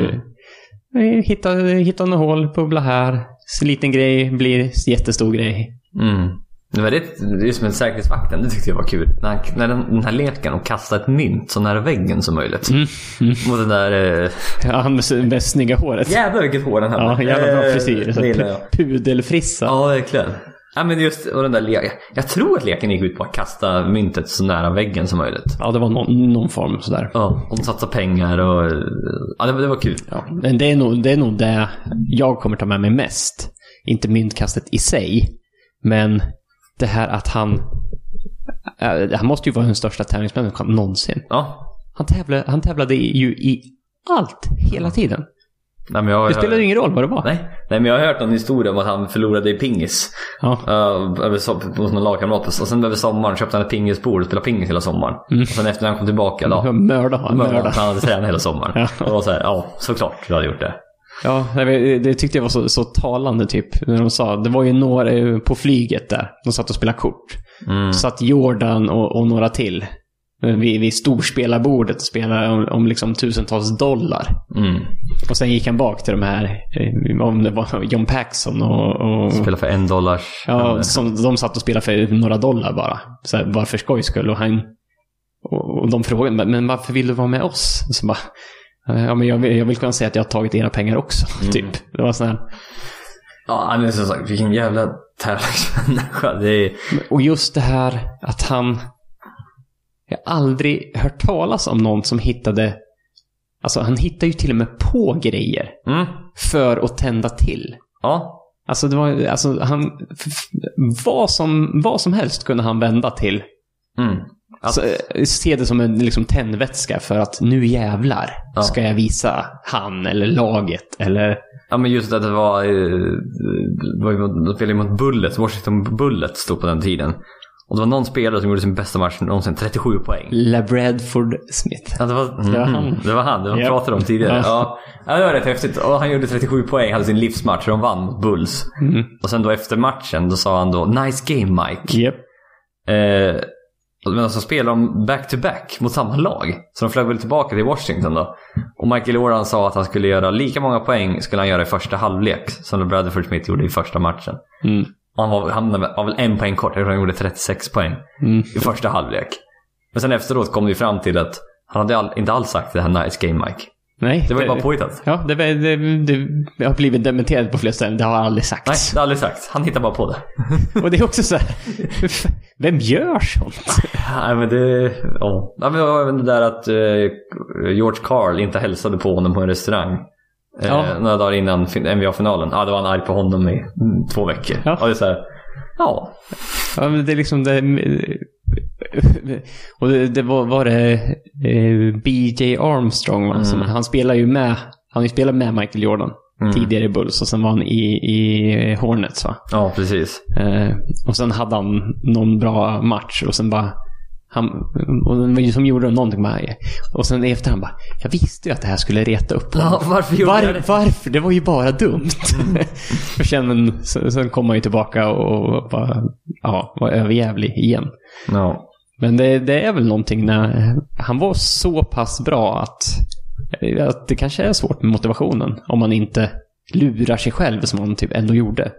eh, hitta, hitta något hål, bubbla här. Så liten grej blir jättestor grej. Mm. Det var det, det är som en säkerhetsvakten. Det tyckte jag var kul. När, han, när den, den här leken och kasta ett mynt så nära väggen som möjligt. Mm. Mot den där... Eh, Ja, han med, s- med snygga håret. jävlar vilket hår den hade. Ja, jävla bra frisyr. Eh, det gillar eh, jag. Så Pudelfrissa. Ja, verkligen. Ja, men just och den där leken. Jag tror att leken gick ut på att kasta myntet så nära väggen som möjligt. Ja, det var någon, någon form sådär. Ja, och de satsar pengar och... Ja, det, var- det var kul. Ja, men det är, nog, det är nog det jag kommer ta med mig mest. Inte myntkastet i sig, men det här att han... eh, Han måste ju vara den största tävlingsmänniskan någonsin. Ja. Han tävlade, han tävlade ju i allt, hela tiden. Nej, men jag, Det spelade ju ingen roll vad det var. Nej. Nej, men jag har hört någon historia om att han förlorade i pingis. Ja. Uh, över so- hos någon lagkamrat. Och sen över sommaren köpte han ett pingisbord och spelade pingis hela sommaren. Mm. Och sen efter när han kom tillbaka då. Mörda har han. Mördade Mörda. han hade tränat hela sommaren. Mm. Och Ja. det var så här, ja såklart du hade gjort det. Ja, nej, men det- det tyckte jag var så, så talande typ. När de sa, det var ju några eh, på flyget där. De satt och spelade kort. Mm. satt Jordan och, och några till eh, vid, vid storspelarbordet och spelade om, om liksom tusentals dollar. Mm. Och sen gick han bak till de här, eh, om det var John Paxson och... och Spela för en dollars. ja, som de satt och spelade för några dollar bara. Så här, bara för skojs skull. Och, han, och, och de frågade, "Men- men varför vill du vara med oss? Och så bara, ja, men jag, vill, jag vill kunna säga att jag har tagit era pengar också. Typ. Det var sån här. Ja, men som sagt, vilken jävla tävlingsmänniska. Det är... Och just det här att han... Jag har aldrig hört talas om någon som hittade... Alltså han hittar ju till och med på grejer Mm. för att tända till. Ja. Alltså det var alltså han... f- f- Vad som, vad som helst kunde han vända till. Mm. Så, eh, se det som en liksom, tändvätska för att nu jävlar Ja. ska jag visa han eller laget eller... Ja men just att det var, eh, det var ju mot- de spelade ju mot Bullets, Washington Bullets stod på den tiden. Och det var någon spelare som gjorde sin bästa match någonsin, 37 poäng. LeBradford Smith. Ja, det, var, Det var han. Mhm. det var han, det var Japp. pratade om tidigare. Ja. Ja. ja, det var rätt häftigt. Och han gjorde 37 poäng, hade sin livsmatch och de vann mot Bulls. Mm. Och sen då efter matchen, då sa han då “Nice game Mike”. Yep. Eh, men alltså spelade de back-to-back mot samma lag. Så de flög väl tillbaka till Washington då. Och Michael Oran sa att han skulle göra lika många poäng skulle han göra i första halvlek som Bradford Smith gjorde i första matchen. Mm. Och han var, hamnade, väl- var väl en poäng kort, jag tror han gjorde 36 poäng Mm. i första halvlek. Men sen efteråt kom det ju fram till att han hade all, inte alls sagt det här “Nice game Mike”. Nej. Det var ju bara påhittat. Ja, det, det, det, det har blivit dementerat på flera ställen. Det har aldrig Nej, sagts. det har aldrig sagt. Han hittar bara på det. Och det är också så här, vem gör sånt? Nej men det, ja. Nej, men det var även det där att eh, George Carl inte hälsade på honom på en restaurang. Eh, Ja. Några dagar innan fin- NBA-finalen. Ja, då var han arg på honom i mm, två veckor. Ja. Ja. Och det är så här, ja. Ja, men det är liksom det... eh, Och det, det var, var det eh, BJ Armstrong, va? Som, han spelar ju med, han har ju spelat med Michael Jordan. Mm. Tidigare i Bulls och sen var han i, i Hornets va. Ja, precis. Eh, och sen hade han någon bra match och sen bara... Han, och den var ju som gjorde någonting med mig. Och sen i efterhand bara, jag visste ju att det här skulle reta upp honom. Ja, varför gjorde jag Var, det? varför? Det var ju bara dumt. och sen, men, Mm. sen, sen kom han ju tillbaka och, bara, ja, var överjävlig igen. Ja. Men det, det är väl någonting när han var så pass bra att, att det kanske är svårt med motivationen. Om man inte lurar sig själv som han typ ändå gjorde.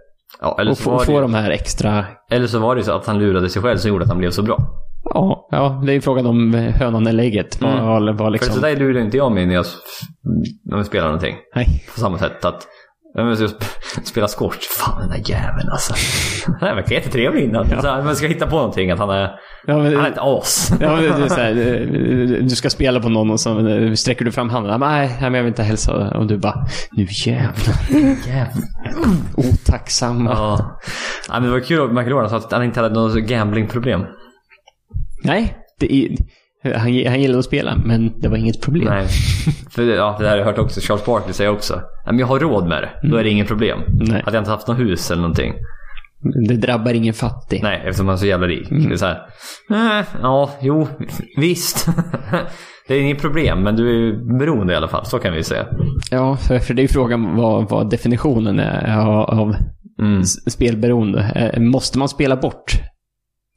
ja eller, Och så få, var få det, de här extra eller så var det ju så att han lurade sig själv som gjorde att han blev så bra. Ja, ja, det är ju frågan om eh, hönan eller ägget. Vad, Mm. vad, vad För liksom... så där lurar inte jag mig när jag, när jag spelar någonting. Nej. På samma sätt att jag måste just spela squash. Fan den där jäveln alltså. Han verkar jättetrevlig innan. Så här, men ska jag hitta på någonting att han är, Ja, men, han är ett as. ja, men, det är så här, eh, du ska spela på någon och så eh, sträcker du fram handen. Nej, nej, men jag vill inte hälsa. Och du bara, nu jävlar. Jävlar. Otacksamma. Ja. ja. men det var kul att Michael Jordan sa att han inte hade något gamblingproblem. Nej, det är, han, han gillade att spela, men det var inget problem. Nej. För ja, det här har jag hört också. Charles Barkley säger också. "Ja, Men jag har råd med det. Då är det inget problem. Nej. Hade jag inte haft något hus eller någonting. Det drabbar ingen fattig. Nej, eftersom han är så jävla rik. Det är så här. "Eh, Ja, jo, visst. Det är inget problem, men du är ju beroende i alla fall. Så kan vi säga. Ja, för, för det är ju frågan vad, vad definitionen är av, av Mm. s- spelberoende. Eh, Måste man spela bort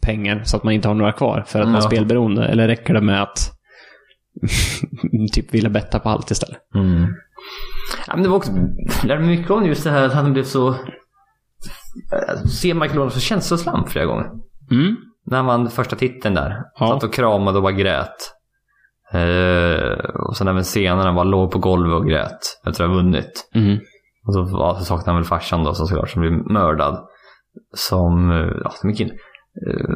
pengar så att man inte har några kvar för att man är Ja. spelberoende? Eller räcker det med att typ vilja betta på allt istället? Mm. Ja, men det var också, jag lärde mig mycket om just det här att han blev så... eh, Se Michael Jordan så känslosam flera gånger. När han vann första titeln där. Ja. Satt och kramade och bara grät. Eh, och sen även senare, han bara låg på golvet och grät efter att ha vunnit. Mm. Och så, ja, så saknade han väl farsan då så såklart, som blev mördad. som, eh, ja, som gick in.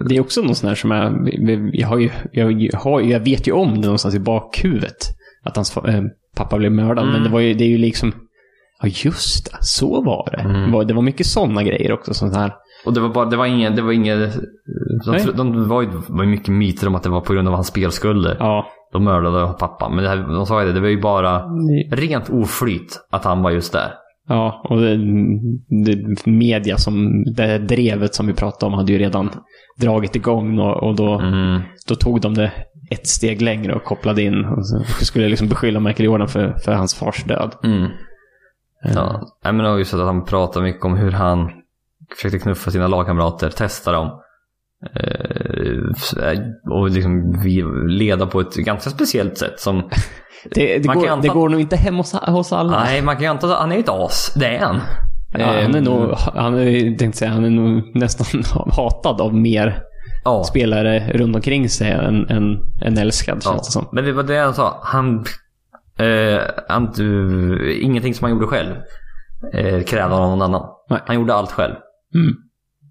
Det är också någon sån här som jag, jag, har ju, jag, har, ju- jag vet ju om det någonstans i bakhuvudet. Att hans fa- eh, pappa blev mördad. Mm. Men det, var ju, det är ju liksom, ja just det, så var det. Mm. Det, var, det var mycket sådana grejer också. Sån här. Och det var bara, det var ingen, det var ingen, de, Nej. tro- de var ju det var ju mycket myter om att det var på grund av hans spelskulder. Ja, De mördade pappan. Men det här, de sa ju det, det var ju bara det- rent oflyt att han var just där. ja och det, det, media som, det här drevet som vi pratade om hade ju redan dragit igång och, och då, Mm. då tog de det ett steg längre och kopplade in. Och så skulle liksom beskylla Michael Jordan för, för hans fars död. Mm. Eh, Ja, jag menar just att han pratar mycket om hur han försökte knuffa sina lagkamrater, testa dem. Eh, och liksom vi- leda på ett ganska speciellt sätt som... Det, det, Man kan går, anta- det går nog inte hem hos, hos alla. Nej, man kan ju anta att han är ett as. Det är han. Ja, Eh, han Ehm, är nog, han är, tänkte säga, han är nog nästan hatad av mer ja, spelare runt omkring sig än, än, än älskad ja. känns det som. Men det var det han sa. Han... Eh, han eh, ingenting som han gjorde själv eh, krävde av någon annan. Nej. Han gjorde allt själv. Mm.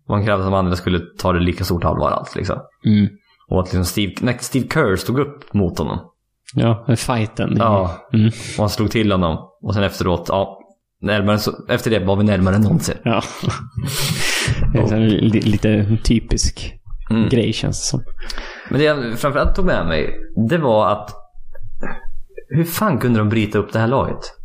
Och han krävde att de andra skulle ta det lika stort allvar allt liksom. Mm. Och att liksom Steve, när Steve Kerr stod upp mot honom. Ja, men fighten. Ja. Mm. Och han slog till honom. Och sen efteråt, ja. Närmare, så, efter det var vi närmare än någonsin. ja. Det är så här li- lite typisk Mm. grej känns det som. Men det jag framförallt tog med mig, det var att hur fan kunde de bryta upp det här laget?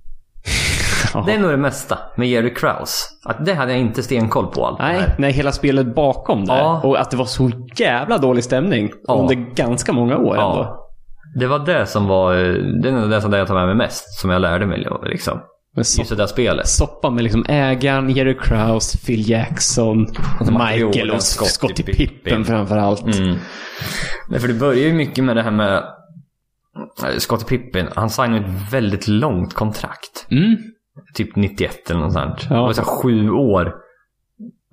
Ja. Det är nog det mesta med Jerry Krause. Att det hade jag inte stenkoll på allt det Nej, här. nej, hela spelet bakom där. Ja. Och att det var så jävla dålig stämning Ja. under ganska många år ändå. Ja. Det var det som var, eh, det är nog det som jag tar med mig mest. Som jag lärde mig liksom. Men så Just det där spelet. soppa med liksom ägaren, Jerry Krause, Phil Jackson, Michael Jordan, och Scott i Scottie Pippen. Pippen framförallt. Mm. Nej, för det börjar ju mycket med det här med eh, Scottie Pippen. Han signade ett väldigt långt kontrakt. Mm. Typ 91 eller något sånt. Ja. Det var så här sju år.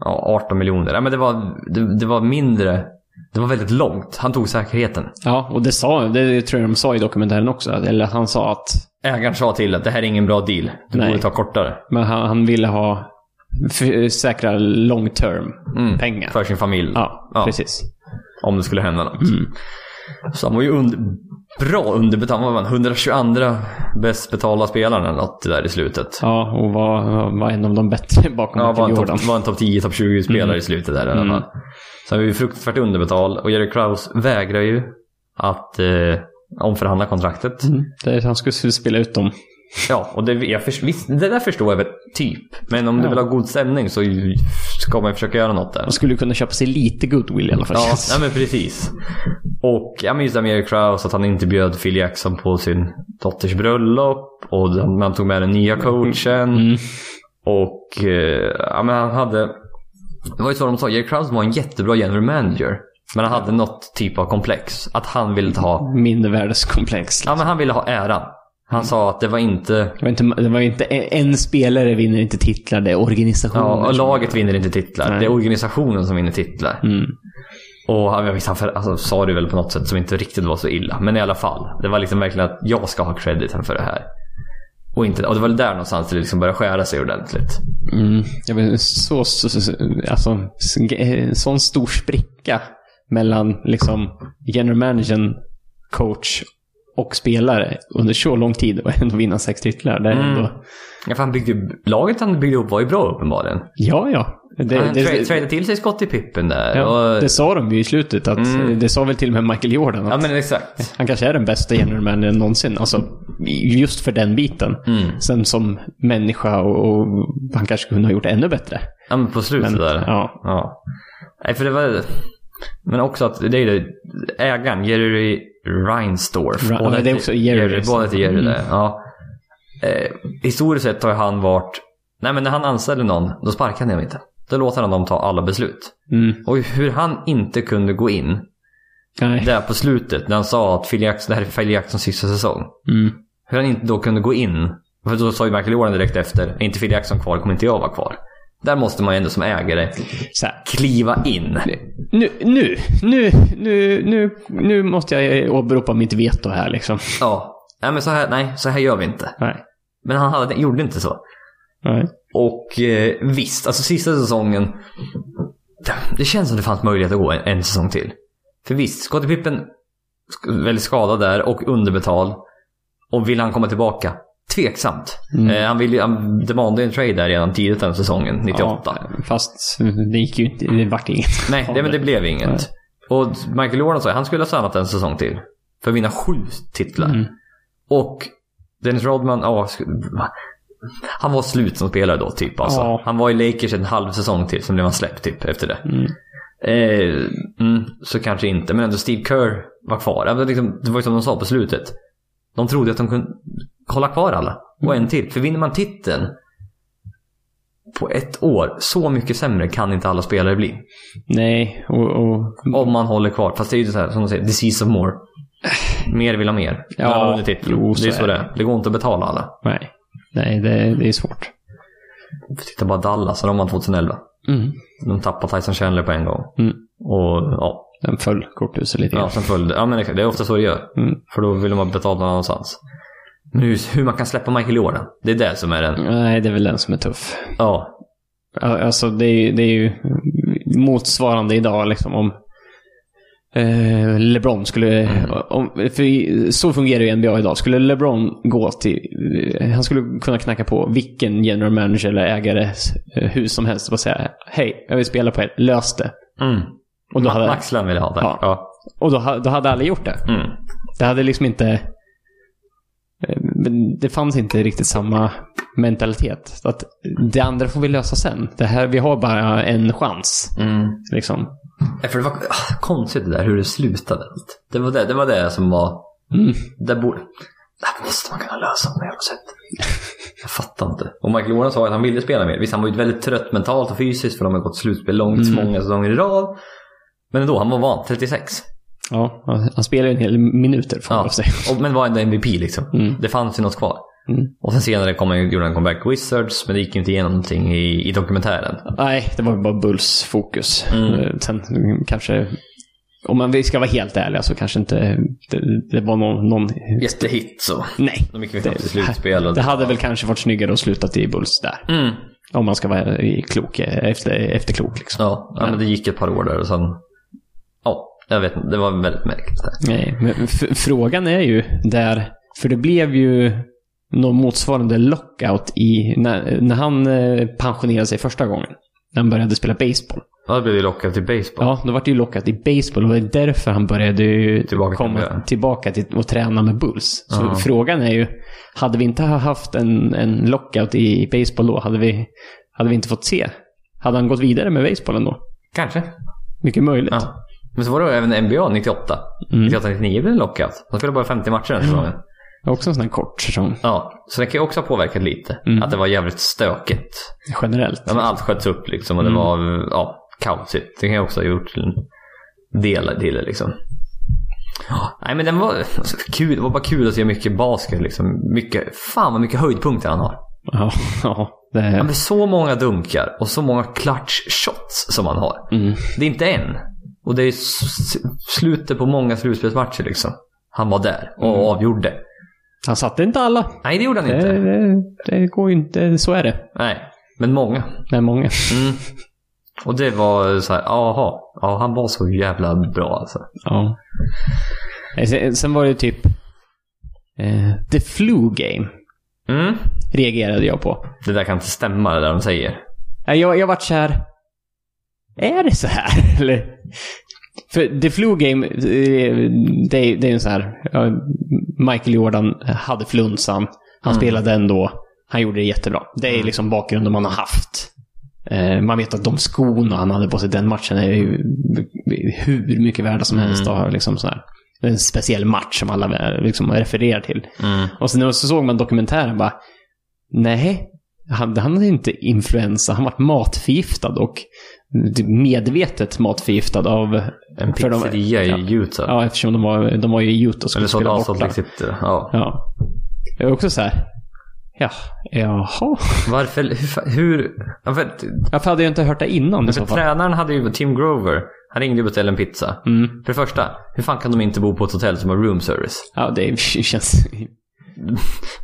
Ja, 18 miljoner. Ja, men det var, det, det var mindre. Det var väldigt långt. Han tog säkerheten. Ja, och det, sa, det tror jag de sa i dokumentären också. Eller han sa att Ägaren sa till att det här är ingen bra deal. Du Nej. borde ta kortare. men han, han ville ha f- säkra long term Mm. pengar. För sin familj. Ja, Mm. Ja. precis. Om det skulle hända något. Så han var ju under, bra underbetald. Han var 122 bäst betalda spelaren eller något där i slutet. Ja, och var, var en av de bättre bakom Ja, var Michael en, Jordan. topp, var en topp 10, topp 20-spelare Mm. i slutet där i alla Mm. fall. Så han var ju fruktansvärt underbetald och Jerry Krause vägrar ju att eh, omförhandla kontraktet. Mm. Det, är- han skulle spela ut dem. Ja, och det, jag först, visst, det där förstår jag väl typ. Men om du Ja. vill ha god stämning så ju- ska man ju försöka göra något där. Han skulle kunna köpa sig lite goodwill i alla fall. Ja, nej, men precis. Och jag minns det med Jerry Krause att han inte bjöd Phil Jackson på sin dotters bröllop. Och man tog med den nya coachen. Mm. Och eh, ja, men han hade... Det var ju så de sa, Jerry Krause var en jättebra general manager. Men han hade något typ av komplex. Att han ville ha, Mindervärdeskomplex. ja, men han ville ha äran. Han sa att det var inte... Det var inte, det var inte en, en spelare vinner inte titlar, det är organisationen. Ja, och som- laget vinner inte titlar. Mm. Nej. Det är organisationen som vinner titlar. Mm. Och han, jag visste, han för, alltså, sa det väl på något sätt som inte riktigt var så illa. Men i alla fall. Det var liksom verkligen att jag ska ha crediten för det här. Och, inte, och det var väl där någonstans det liksom började skära sig ordentligt. Mm. Jag vet, så, så, så, så, alltså, s- eh, sån stor spricka mellan liksom, general managern, coach och spelare under så lång tid och ändå vinna sex titlar. Det är Mm. ändå, Ja, för han byggde, ju- laget han byggde upp var ju bra uppenbarligen. ja, ja. Det, han det, tra- det, tradade till sig skott i pippen där. ja, och, det sa de ju i slutet. Att, Mm. Det sa väl till och med Michael Jordan. Att ja men exakt. Han kanske är den bästa general managern någonsin. Alltså, just för den biten. Mm. Sen som människa och, och han kanske kunde ha gjort ännu bättre. Ja men på slutet Men, där. ja. Ja. Nej för det var... Men också att det är det. Ägaren, Jerry Reinsdorf. Ra- Båda ja, det är heter- också Jerry. Båda heter Jerry Mm. där. Ja. Eh, historiskt sett har han varit... Nej men när han anställer någon, då sparkar han dem inte. Då låter han dem ta alla beslut. Mm. Och hur han inte kunde gå in Nej. där på slutet när han sa att Phil Jackson, det här är Phil Jacksons sista säsong. Mm. Hur han inte då kunde gå in. För då sa ju Michael Jordan direkt efter, är inte Phil Jackson kvar kommer inte jag vara kvar. Där måste man ju ändå som ägare Så här. kliva in. Nu, nu, nu, nu, nu, nu måste jag eh, åberopa mitt veto här liksom. Ja. Nej men så här, nej, så här gör vi inte. Nej. Men han hade, gjorde inte så. Nej. Och eh, visst, alltså sista säsongen. det- Det känns som det fanns möjlighet att gå en, en säsong till. För visst, Scottie Pippen sk- väldigt skadad där och underbetald. Och vill han komma tillbaka? Tveksamt. Mm. Eh, han, vill, ju- han demandade en trade där redan tidigt den säsongen, 98. Ja, fast det gick ju inte, det vart inget. Nej, det, men det blev inget. Nej. Och Michael Jordan sa att han skulle ha stannat en säsong till. För att vinna sju titlar. Mm. Och Dennis Rodman, ja. sk- va? Han var slut som spelare då, typ. Alltså. Ja. Han var i Lakers en halv säsong till, sen blev han släppt typ efter det. Mm. Eh, mm, så kanske inte, men ändå Steve Kerr var kvar. Ja, men liksom, Det var ju som de sa på slutet. De trodde att de kunde hålla kvar alla. Och Mm. en till. För vinner man titeln på ett år, så mycket sämre kan inte alla spelare bli. Nej, och, och Om man håller kvar. Fast det är ju så här, som de säger, disease of more. Mer vill ha mer. Ja, Alla har vunnit titeln. jo, det är så så är det det. är. Det går inte att betala alla. nej. Nej, det, det är svårt. Titta bara Dallas, de vann 2011. Mm. De tappade Tyson Chandler på en gång. Mm. Och ja, Den föll korthuset lite ja grann. sen följde. Ja, men exakt. det är ofta så det gör. Mm. För då vill de ha betalt någon annanstans. Men hur, hur man kan släppa Michael Jordan. Det är det som är den. Nej, det är väl den som är tuff. Ja. Ja, Alltså det är, ju- det är ju motsvarande idag liksom om eh, LeBron skulle... Om, för i- så fungerar ju NBA idag. Skulle LeBron gå till... eh, Han skulle kunna knacka på vilken general manager eller ägare hus som helst och bara säga Hej, jag vill spela på er. Lös det. Mm. Och då Ma- hade, Maxlund vill ha det. Ja. Ja. och då, ha- då hade alla gjort det. Mm. Det hade liksom inte... eh, men Det fanns inte riktigt samma mentalitet. Så Att det andra får vi lösa sen. Det här, vi har bara en chans. Mm. Liksom. Ja, För det var ah, konstigt det där hur det slutade. Det var det, det, var det som var... Mm. Det, borde, det här måste man kunna lösa på något sätt. Jag fattar inte. Och Michael Jordan sa att han ville spela mer. Visst, han var ju väldigt trött mentalt och fysiskt för de har gått slutspel långt Mm. många säsonger i rad. Men ändå, han var van. 36. Ja, han- han spelar ju en hel minuter får man Ja. väl säga. Och, men var ändå MVP liksom. Mm. Det fanns ju något kvar. Mm. Och sen senare kom han, gjorde han comeback Wizards, men det gick ju inte igenom någonting i, i dokumentären. Nej, det var ju bara Bulls fokus. Mm. Eh, Sen mm, kanske, om man ska vara helt ärlig, så kanske inte det, det var någon... någon... Jättehit så. Nej. De gick väl Det- knappt till slutspel. Och... Det hade väl kanske varit snyggare att sluta i Bulls där. Mm. Om man ska vara eh, klok, eh, efter, efterklok. Liksom. Ja, ja, men det gick ett par år där och sen... Ja, jag vet inte. Det var väldigt märkligt. Där. Nej, men f- frågan är ju där, för det blev ju någon motsvarande lockout i, när, när han eh, pensionerade sig första gången. När han började spela baseball. Ja, då blev vi lockade till baseball. Ja, då var det ju lockat i baseball och det är därför han började ju Tillbaka till komma det. tillbaka till och träna med Bulls. Så Ja. frågan är ju, hade vi inte haft en, en lockout i baseball då, hade vi, hade vi inte fått se? Hade han gått vidare med baseballen då? Kanske. Mycket möjligt. Ja. Men så var det även NBA 98. Mm. 98-99 blev en lockout. De spelade bara 50 matcher den säsongen. Också en sån här kort säsong, Ja, så det kan ju också ha påverkat lite. Mm. Att det var jävligt stökigt. generellt. Ja, men allt sköts upp liksom och det Mm. var ja, kaosigt. Det kan jag också ha gjort till en del till det liksom. Ja, Nej men den var alltså, kul. Det var bara kul att se mycket basket liksom. Mycket, fan vad mycket höjdpunkter han har. Ja, ja, det Ja, är... men så många dunkar och så många clutch shots som han har. Mm. Det är inte en. Och det är s- slutet på många slutspelsmatcher liksom. Han var där och Mm. avgjorde. Han satte inte alla. Nej, det gjorde han Det, inte. det, det går ju inte, så är det. Nej, men många. Det är många. Mm. Och det var så här, aha. Ja, han var så jävla bra alltså. Ja. Eh, Sen, sen var det typ eh, The Flu Game. Mm. reagerade jag på. Det där kan inte stämma det där de säger. Nej, Jag, jag vart så här. Är det så här? Eller? För The Flu Game, eh, det är, det är en så här. ja, Michael Jordan hade flunsan. Han spelade ändå. Han gjorde det jättebra. Det är liksom bakgrunden man har haft. Eh, Man vet att de skorna han hade på sig den matchen är ju hur mycket värda som helst. Mm. Liksom så här. Det är En speciell match som alla eh, liksom refererar till. Mm. Och sen så såg man dokumentären bara, nej, han, han hade inte influensa, han var matförgiftad och medvetet matförgiftad av... En för de- pizzeria ja. i Utah. Ja, eftersom de var, de var ju i Utah och Eller skulle så spela Salt borta. Lake City. Ja. Ja. Jag är också så här, ja, jaha. Varför? Hur? fa- hur ja, för, Varför hade jag inte hört det innan i för så fall? tränaren hade ju, Tim Grover, han ringde och beställde en pizza. Mm. För det första, hur fan kan de inte bo på ett hotell som har room service? Ja, det känns...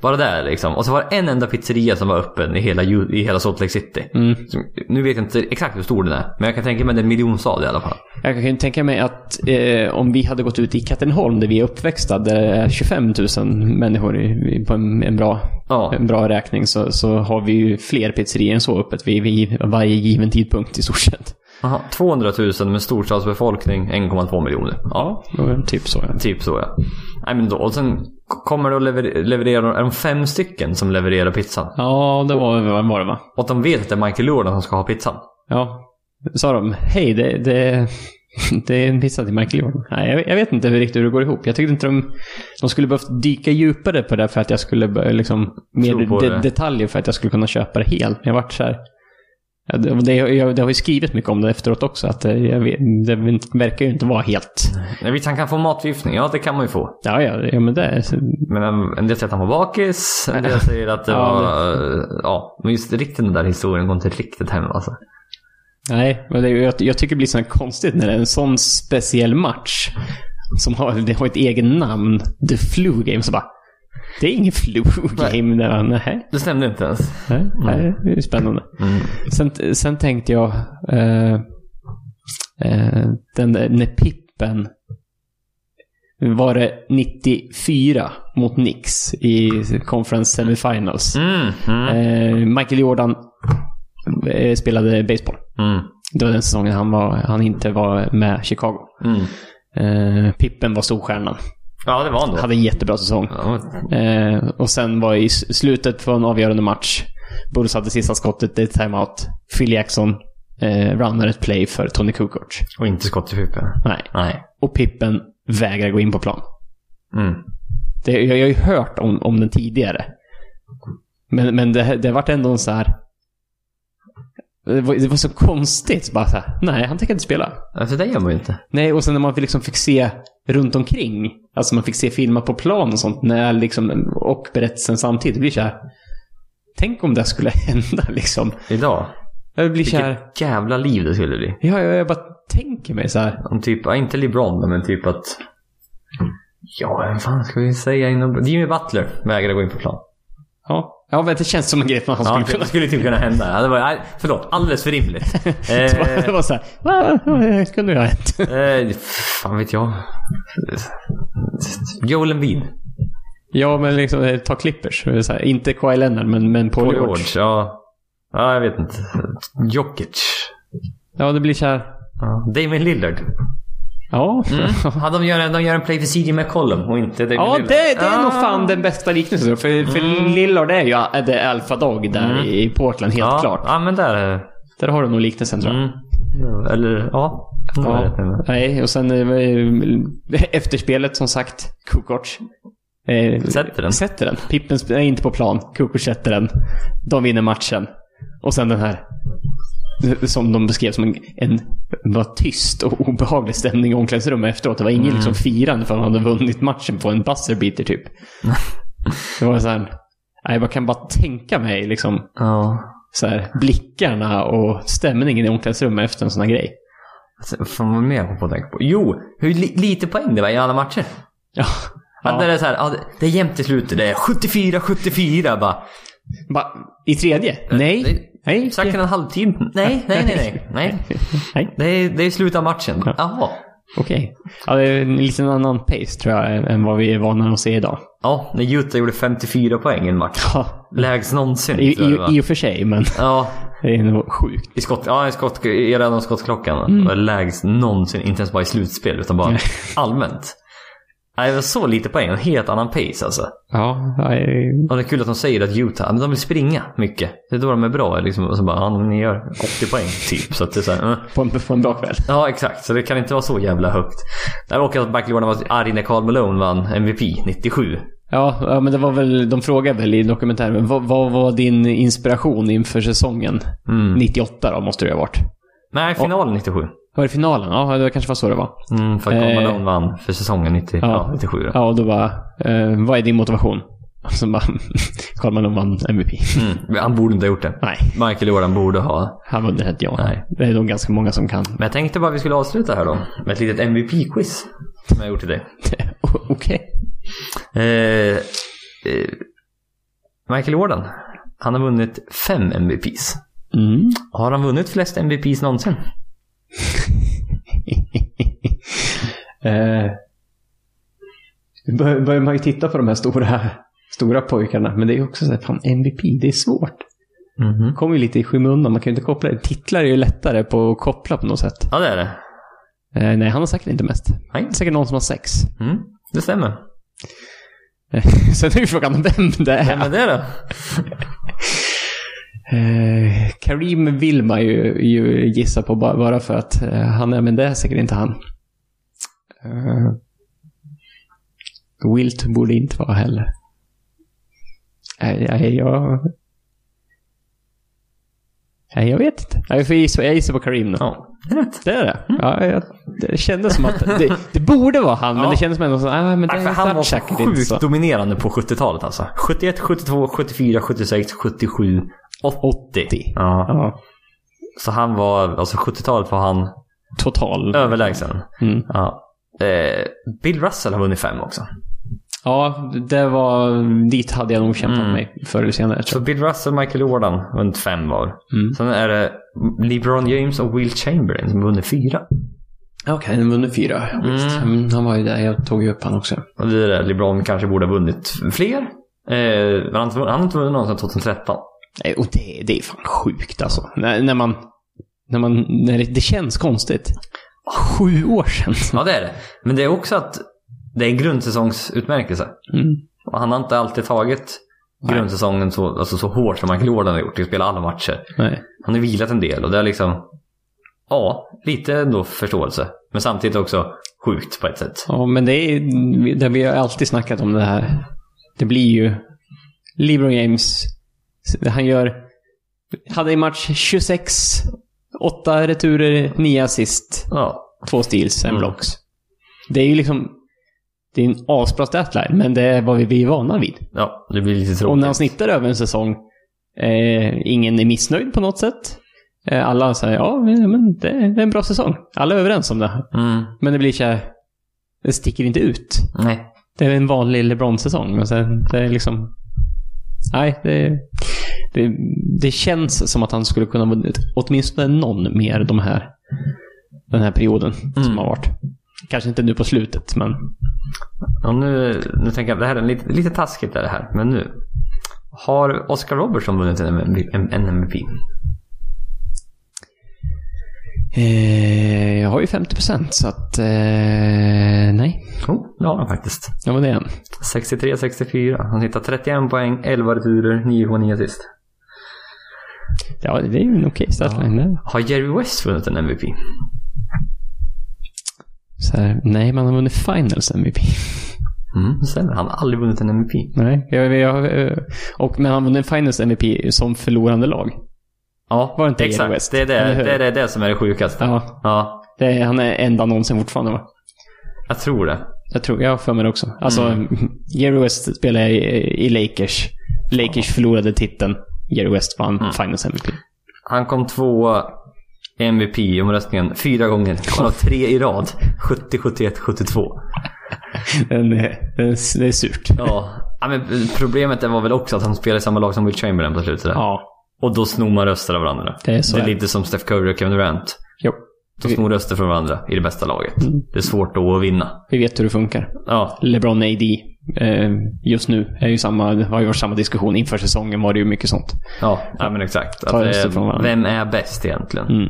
Bara där liksom. Och så var det en enda pizzeria som var öppen i hela, Ju- i hela Salt Lake City. Mm. Som- Nu vet jag inte exakt hur stor den är, men jag kan tänka mig den miljonstad i alla fall. Jag kan ju tänka mig att eh, om vi hade gått ut i Katrineholm, där vi är uppväxta, där det är 25 000 människor i, i- på en, en, bra, Ja. en bra räkning, så, så har vi ju fler pizzerior än så öppet vid, vid varje given tidpunkt i stort sett. Aha, 200 000 med storstadsbefolkning 1,2 miljoner. Ja, Ja, Typ så. Ja. typ så ja. Nej, men då, och sen k- kommer det att lever- leverera, är de fem stycken som levererar pizzan? Ja, det var, vad var det va? Och att de vet att det är Michael Jordan som ska ha pizzan. Ja. Sa de hej, det, det, det är en pizza till Michael Jordan? Nej, jag, jag vet inte riktigt hur det går ihop. Jag tyckte inte de, de skulle behövt dyka djupare på det för att jag skulle bör- liksom, Tro på mer de, det. detaljer för att jag skulle kunna köpa det helt. Men jag vart så här. Ja, det, det, jag, det har ju skrivit mycket om det efteråt också, att eh, jag vet, det verkar ju inte vara helt... Nej, visst, han kan få matförgiftning. Ja, det kan man ju få. Ja, ja, ja men det... är- Men en, en del säger att han var bakis. En del säger att det Ja, var... eh, Ja, men just riktigt den där historien går inte riktigt hem alltså. Nej, men det, är ju- jag, jag tycker det blir så här konstigt när det är en sån speciell match som har, det har ett eget namn. The Flu Game. Så bara, det är ingen Flu Game. Nej. Nej, Det stämde inte ens. nej, nej, det är spännande. Mm. Sen, sen tänkte jag, eh, eh, den där, när Pippen var det 94 mot Knicks i Conference Semifinals. Mm, mm, Eh, Michael Jordan eh, spelade baseball. mm, Det var den säsongen han, var, han inte var med Chicago. mm. Eh, Pippen var storstjärnan. Ja, det var han då. Hade en jättebra säsong. Ja, Eh, och sen var i s- slutet på en avgörande match. Bulls hade sista skottet, det är timeout. Phil Jackson eh, runnar ett play för Tony Kukoc. och inte skott i pipen. Nej. Nej. Och Pippen vägrar gå in på plan. Mm. Det, jag, jag har ju hört om, om den tidigare. Men, men det, det vart ändå en så här... Det var, det var så konstigt. Bara så här, nej, han tänker inte spela. Alltså, det gör man ju inte. Nej, och sen när man liksom fick se runt omkring. Alltså man fick se filmer på plan och sånt. När liksom, och berättelsen samtidigt. Det blir så här. Tänk om det skulle hända liksom. Idag. Jag blir så här. Vilket jävla liv det skulle bli. Ja, jag, jag bara tänker mig så här. Om typ, ja, inte LeBron, men typ att... Ja, vem fan ska vi säga inom... Jimmy Butler vägrade gå in på plan. Ja. ja, men det känns som en grej man Ja, skulle det kunna... skulle typ kunna hända. Ja, det var, nej, förlåt, alldeles för rimligt. Det var- Det Eh, var så här. "Va? Ja, Det kunde ju ha hänt. eh, fan vet jag. Joel Embiid. Ja, men liksom eh, ta Clippers. Så här, inte Kawhi Leonard, men, men Paul, Paul George. George. Ja. ja, jag vet inte. Jokic. Ja, det blir så här. Ja. Damon Lillard. Mm. Ja. Mm. Ja, de, gör, en- de gör en play för CJ McCollum och inte Damon Ja, Lillard. det, det är Ja. nog fan den bästa liknelsen. För, för Lillard är ju a- the alpha dog där i Portland, helt ja. klart. Ja, men där. eh, Där har du nog liknelsen tror jag. Mm. Eller ja. Det var rätt Ja. ändå. Nej, och sen eh, efterspelet som sagt, Kukoc. Eh, Sätter den. Sätter den. Pippen sp- är inte på plan. Kukoc sätter den. De vinner matchen. Och sen den här. eh, Som de beskrev som en, en var tyst och obehaglig stämning i omklädningsrummet efteråt. Det var ingen Mm. liksom firande för att man hade vunnit matchen på en buzzer beater typ. det var så här. Nej, jag kan bara tänka mig liksom Ja. så här, blickarna och stämningen i omklädningsrummet efter en sån här grej. Alltså, Fan vad mer jag kom på att tänka på. Jo, hur li- lite poäng det var i alla matcher. Ja. Att när det är så här, ja, det- det är jämnt i slutet. Det är 74-74 bara. Va, I tredje? Nej. nej. Nej. Exakt en halvtid. Nej, nej, nej, nej. nej. Nej. Det, är, det är slutet av matchen. Jaha. Okej. Ja, det är en liten annan pace tror jag än- än vad vi är vana att se idag. Ja, när Utah gjorde 54 poäng i en match. Ja. Lägst någonsin. I, tror jag det var. i, I och för sig, men Ja, det är nog sjukt. i skott, ja, i skott, i redan skottklockan. Mm. Det var lägst någonsin. Inte ens bara i slutspel, utan bara allmänt. Nej, det var så lite poäng. En helt annan pace alltså. Ja. nej. Och det är kul att de säger att Utah, men de vill springa mycket. Det är då de är bra. Liksom. Och så bara, ja, ni gör 80 poäng typ. Så att det är så här, eh. På en, på en bra kväll. Ja, exakt. Så det kan inte vara så jävla högt. Där råkade att Michael Jordan var arg när Karl Malone vann MVP 97. Ja, ja, men det var väl, de frågade väl i dokumentären, vad, vad var din inspiration inför säsongen? 98 då, måste det ha varit. Mm. Nej, finalen 97. Var det finalen? Ja, det kanske var så det var. Mm, för att Karl Eh. Malone vann för säsongen 90, ja. 97. då. Ja, och då bara, eh, vad är din motivation? Och så bara, Karl Malone vann MVP. Mm. men Han borde inte ha gjort det. Nej. Michael Jordan borde ha. Han var inte ja. Nej. Det är nog ganska många som kan. Men jag tänkte bara att vi skulle avsluta här då. Med ett litet MVP-quiz. Som jag har gjort till dig. Okej. Eh, eh, Michael Jordan, han har vunnit fem MVPs. Mm. Har han vunnit flest MVPs någonsin? Eh, nu bör- börjar man ju titta på de här stora, stora pojkarna, men det är ju också så här, fan MVP, det är svårt. Mhm. kommer ju lite i skymundan, man kan ju inte koppla det. Titlar är ju lättare på att koppla på något sätt. Ja, det är det. Eh, nej, han har säkert inte mest. Nej. Det är säkert någon som har sex. Mm, det stämmer. Eh, Sen är ju frågan vem det är. Vem är det då? Eh, Karim vill man ju, ju gissa på bara, bara för att eh, han är, men det är säkert inte han. Eh, Wilt borde inte vara heller. Nej, nej, jag... Nej, jag vet inte. Nej, Jag, får gissa, jag gissar på Karim nu. Ja, Mm. det är rätt. Det är det? Ja, jag, det kändes som att det, det borde vara han, men Ja. det kändes som ändå så ah, men det Nej, för är han var säkert inte sjukt så. dominerande på 70-talet alltså. 71, 72, 74, 76, 77, 80. 80. Ja. Ja, Så han var, alltså 70-talet var han total. överlägsen. Mm. Ja. Eh, Bill Russell har vunnit fem också. Ja, det var... Dit hade jag nog kämpat Mm. mig förr eller senare. Så Tror Bill Russell, Michael Jordan har vunnit fem var. jag. Mm. Sen är det LeBron James och Will Chamberlain som har vunnit fyra. Okej, han vunnit fyra. Visst. Mm, han var ju där. Jag tog ju upp han också. Och det är det, LeBron kanske borde ha vunnit fler. Eh, men han har inte vunnit- han har inte vunnit någon sedan 2013. Nej, Och det, det är fan sjukt alltså. När, när man... När man när det, det känns konstigt. Sju år sedan. Ja, det är det. Men det är också att det är en grundsäsongsutmärkelse. Mm. Och han har inte alltid tagit Nej. grundsäsongen så, alltså så hårt som Michael Jordan har gjort. Det spelar alla matcher. Nej. Han har vilat en del och det är liksom, ja, lite ändå förståelse. Men samtidigt också sjukt på ett sätt. Ja, men det är det vi har alltid snackat om det här. Det blir ju LeBron James. Han gör... Hade i match 26, 8 returer, 9 assist, Ja, 2 steals, en Mm. blocks. Det är ju liksom... Det är en asbra statline, men det är vad vi- vi är vana vid. ja det blir lite Och när han tråkigt. snittar över en säsong, eh, ingen är missnöjd på något sätt. Eh, alla säger ja, men det är en bra säsong. Alla är överens om det. Mm, Men det blir så här, det sticker inte ut. nej. Det är en vanlig LeBron-säsong, men sen, det är liksom... Nej, det, det, det känns som att han skulle kunna ha vunnit åtminstone någon mer de här, den här perioden Mm. som har varit. Kanske inte nu på slutet, men... Och nu, nu tänker jag, det här är lite, lite taskigt är det här, men nu. Har Oscar Robertson vunnit en MVP? En, en MVP? Eh, jag har ju 50% så att... Eh, nej, Jo, Oh, det har han faktiskt. det var det än. 63-64. Han hittar 31 poäng, 11 returer, 9 på 9 assist. Ja, det är ju en okej startline. det. Har Jerry West vunnit en MVP? Så här, nej, man har vunnit finals MVP. Mm, det stämmer. Han har aldrig vunnit en MVP. Nej, jag, jag, jag, och, men han vann en finals MVP som förlorande lag. Ja, Var det inte exakt. Jerry West? Det är Eller det, hur? det, är det, det som är det sjukaste. Ja. Ja, Det är, han är enda någonsin fortfarande va? jag tror det. Jag tror, jag har för mig det också. Alltså, Jerry West spelade i, i Lakers. Lakers förlorade titeln. Jerry West vann Finals MVP. Han kom tvåa i MVP-omröstningen fyra gånger. Han har tre i rad. 70, 71, 72. Den är, den är, det är surt. Ja. ja men problemet var väl också att han spelade i samma lag som Will Chamberlain på slutet. där. Ja. Och då snor man röster av varandra. Det är så det är här. lite som Steph Curry och Kevin Durant. Jo. De snor röster från varandra i det bästa laget. Mm. Det är svårt då att vinna. Vi vet hur det funkar. Ja, LeBron AD. Eh, just nu är ju samma, det har ju varit samma diskussion. Inför säsongen var det ju mycket sånt. ja, ja men exakt. Att, Ta röster eh, från varandra. vem är bäst egentligen? Mm.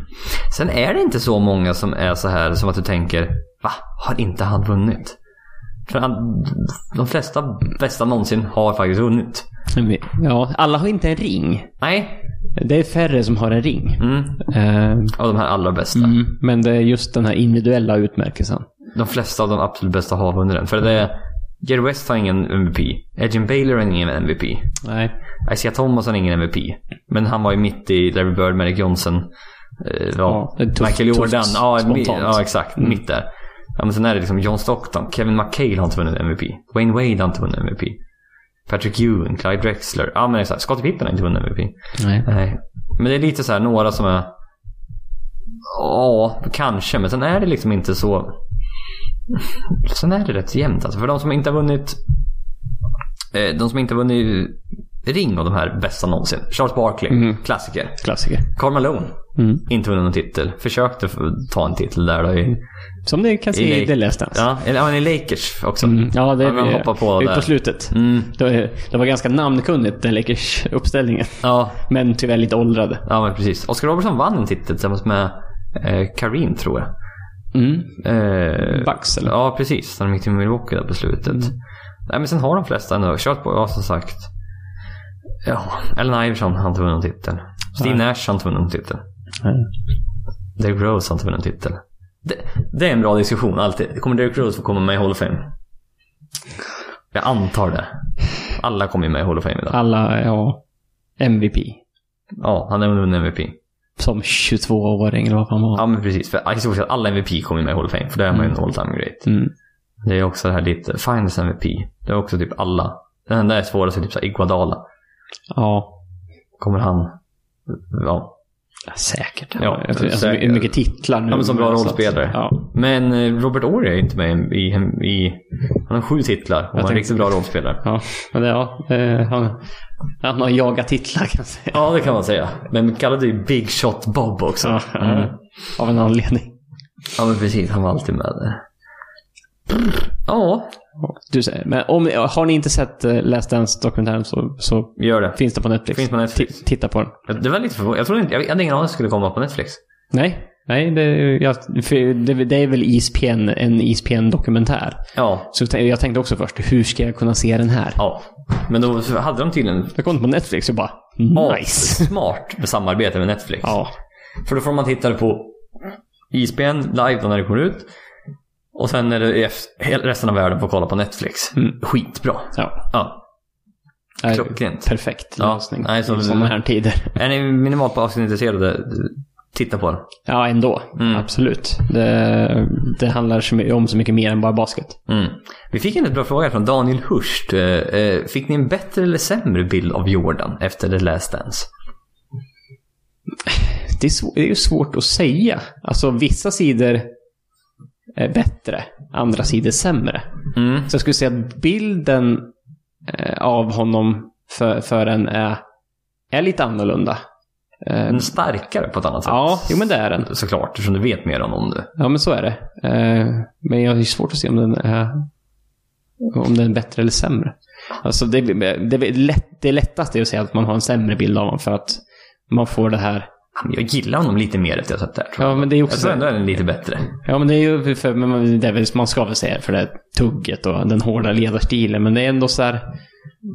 Sen är det inte så många som är så här som att du tänker, va? Har inte han vunnit? För han, de flesta bästa någonsin har faktiskt vunnit. Men vi- Ja, alla har inte en ring. Nej. Det är färre som har en ring. Mm. Eh, mm. Av de här allra bästa. Men det är just den här individuella utmärkelsen. De flesta av de absolut bästa har vunnit den. För det är, Jerry West har ingen MVP. Edgin Baylor har ingen MVP. Nej. Isaiah Thomas har ingen MVP. Men han var ju mitt i Larry Bird, Magic Johnson. Eh, ja, Ja, det är tufft- Michael Jordan. tufft Ja, mi- spontant. Mm. ja, exakt. Mitt där. Ja, men sen är det liksom John Stockton. Kevin McHale har inte vunnit MVP. Wayne Wade har inte vunnit MVP. Patrick Ewing, Clyde Drexler. Ja, men exakt. Scottie Pippen har inte vunnit MVP. Nej. Nej. Men det är lite så här några som är... Ja, kanske. Men sen är det liksom inte så... Sen är det rätt jämnt alltså. För de som inte har vunnit eh, de som inte vunnit ring av de här bästa någonsin. Charles Barkley, klassiker. Klassiker. Karl Malone, Mm. inte vunnit någon titel. Försökte f- ta en titel där då i... Som ni kan se i The Last Dance. Ja, eller han är Lakers också. Mm. Ja, det Ja, men hoppa på det är där. på slutet. Mm, Det var, det var ganska namnkunnigt, den Lakers-uppställningen. ja, Men tyvärr lite åldrade. ja, men precis. Oscar Robertson vann en titel tillsammans med eh, Karim, tror jag. Mm. Eh, Bucks, eller? Ja, precis. När de gick till Milwaukee där på slutet. Nej, men sen har de flesta nu kört på, ja som sagt. Ja, Allen Iverson har inte vunnit någon titel. Steve Nash har inte vunnit någon titel. Nej. Derrick Rose har inte vunnit någon titel. Det, det är en bra diskussion alltid. Kommer Derrick Rose få komma med i Hall of Fame? Jag antar det. Alla kommer ju med i Hall of Fame idag. Alla, ja, MVP. Ja, han har vunnit MVP. Som 22-åring eller vad fan var. Ja, men precis. För alltså, i stort sett alla MVP kommer ju med i Hall of Fame. För det är man ju en all time great. Mm. Det är också det här lite, Finals MVP. Det är också typ alla. Den enda är svårast är typ så här Iguadala. Ja, Kommer han... Ja. ja, säkert. Ja, Ja, alltså, alltså, säkert. hur mycket titlar nu. Ja, men som bra Så att- rollspelare. Ja. Men eh, Robert Ory är inte med i... i han har sju titlar och han är en tänkte- riktigt bra rollspelare. Ja, men det, ja, eh, han, han har jagat titlar kan jag säga. Ja, det kan man säga. Men kallade ju Big Shot Bob också. Ja, Mm. Av en anledning. Ja, men precis. Han var alltid med där. Ja, Du säger, men om, har ni inte sett eh, Last Dance-dokumentären så, så gör det. finns det på Netflix. Finns på Netflix. Ti- Titta på den. Det var lite förvånande. Jag, trodde inte, jag hade ingen aning om att det skulle komma på Netflix. Nej, nej det, jag, för det, det är väl E ISPN, en ISPN-dokumentär. Ja. Så tän- jag tänkte också först, hur ska jag kunna se den här? Ja. Men då hade de tydligen... Jag kom på Netflix och bara, nice! Smart med samarbete med Netflix. Ja, För då får man titta på ISBN live då när det kommer ut. Och sen är det ef- hel- resten av världen får kolla på Netflix. Mm. Skitbra. ja. Ja. Är Klockrent. Perfekt Ja, lösning nej, så- i sådana här tider. Är ni minimalt på avsnitt intresserade, titta på den. Ja, ändå. Mm. Absolut. Det, det handlar så my- om så mycket mer än bara basket. Mm. Vi fick en rätt bra fråga från Daniel Hurst. Eh, eh, Fick ni en bättre eller sämre bild av Jordan efter The Last Dance? Det är, sv- det är ju svårt att säga. Alltså, vissa sidor är bättre, andra sidor sämre. Mm. Så jag skulle säga att bilden eh, av honom för, för en är, är lite annorlunda. Eh, Den är starkare på ett annat sätt. ja, jo men det är den. Såklart, eftersom du vet mer om honom du. Ja, men så är det. Eh, men jag har ju svårt att se om den är, om den är bättre eller sämre. Alltså det, det, är lätt, det lättaste är att säga att man har en sämre bild av honom för att man får det här. Ja, men Jag gillar honom lite mer efter att jag sett det här. Tror jag. Ja, men det är jag också... tror ändå den är lite bättre. Ja, men det är ju för, men man, det är väl, man ska väl säga det för det här tugget och den hårda ledarstilen. Men det är ändå så här,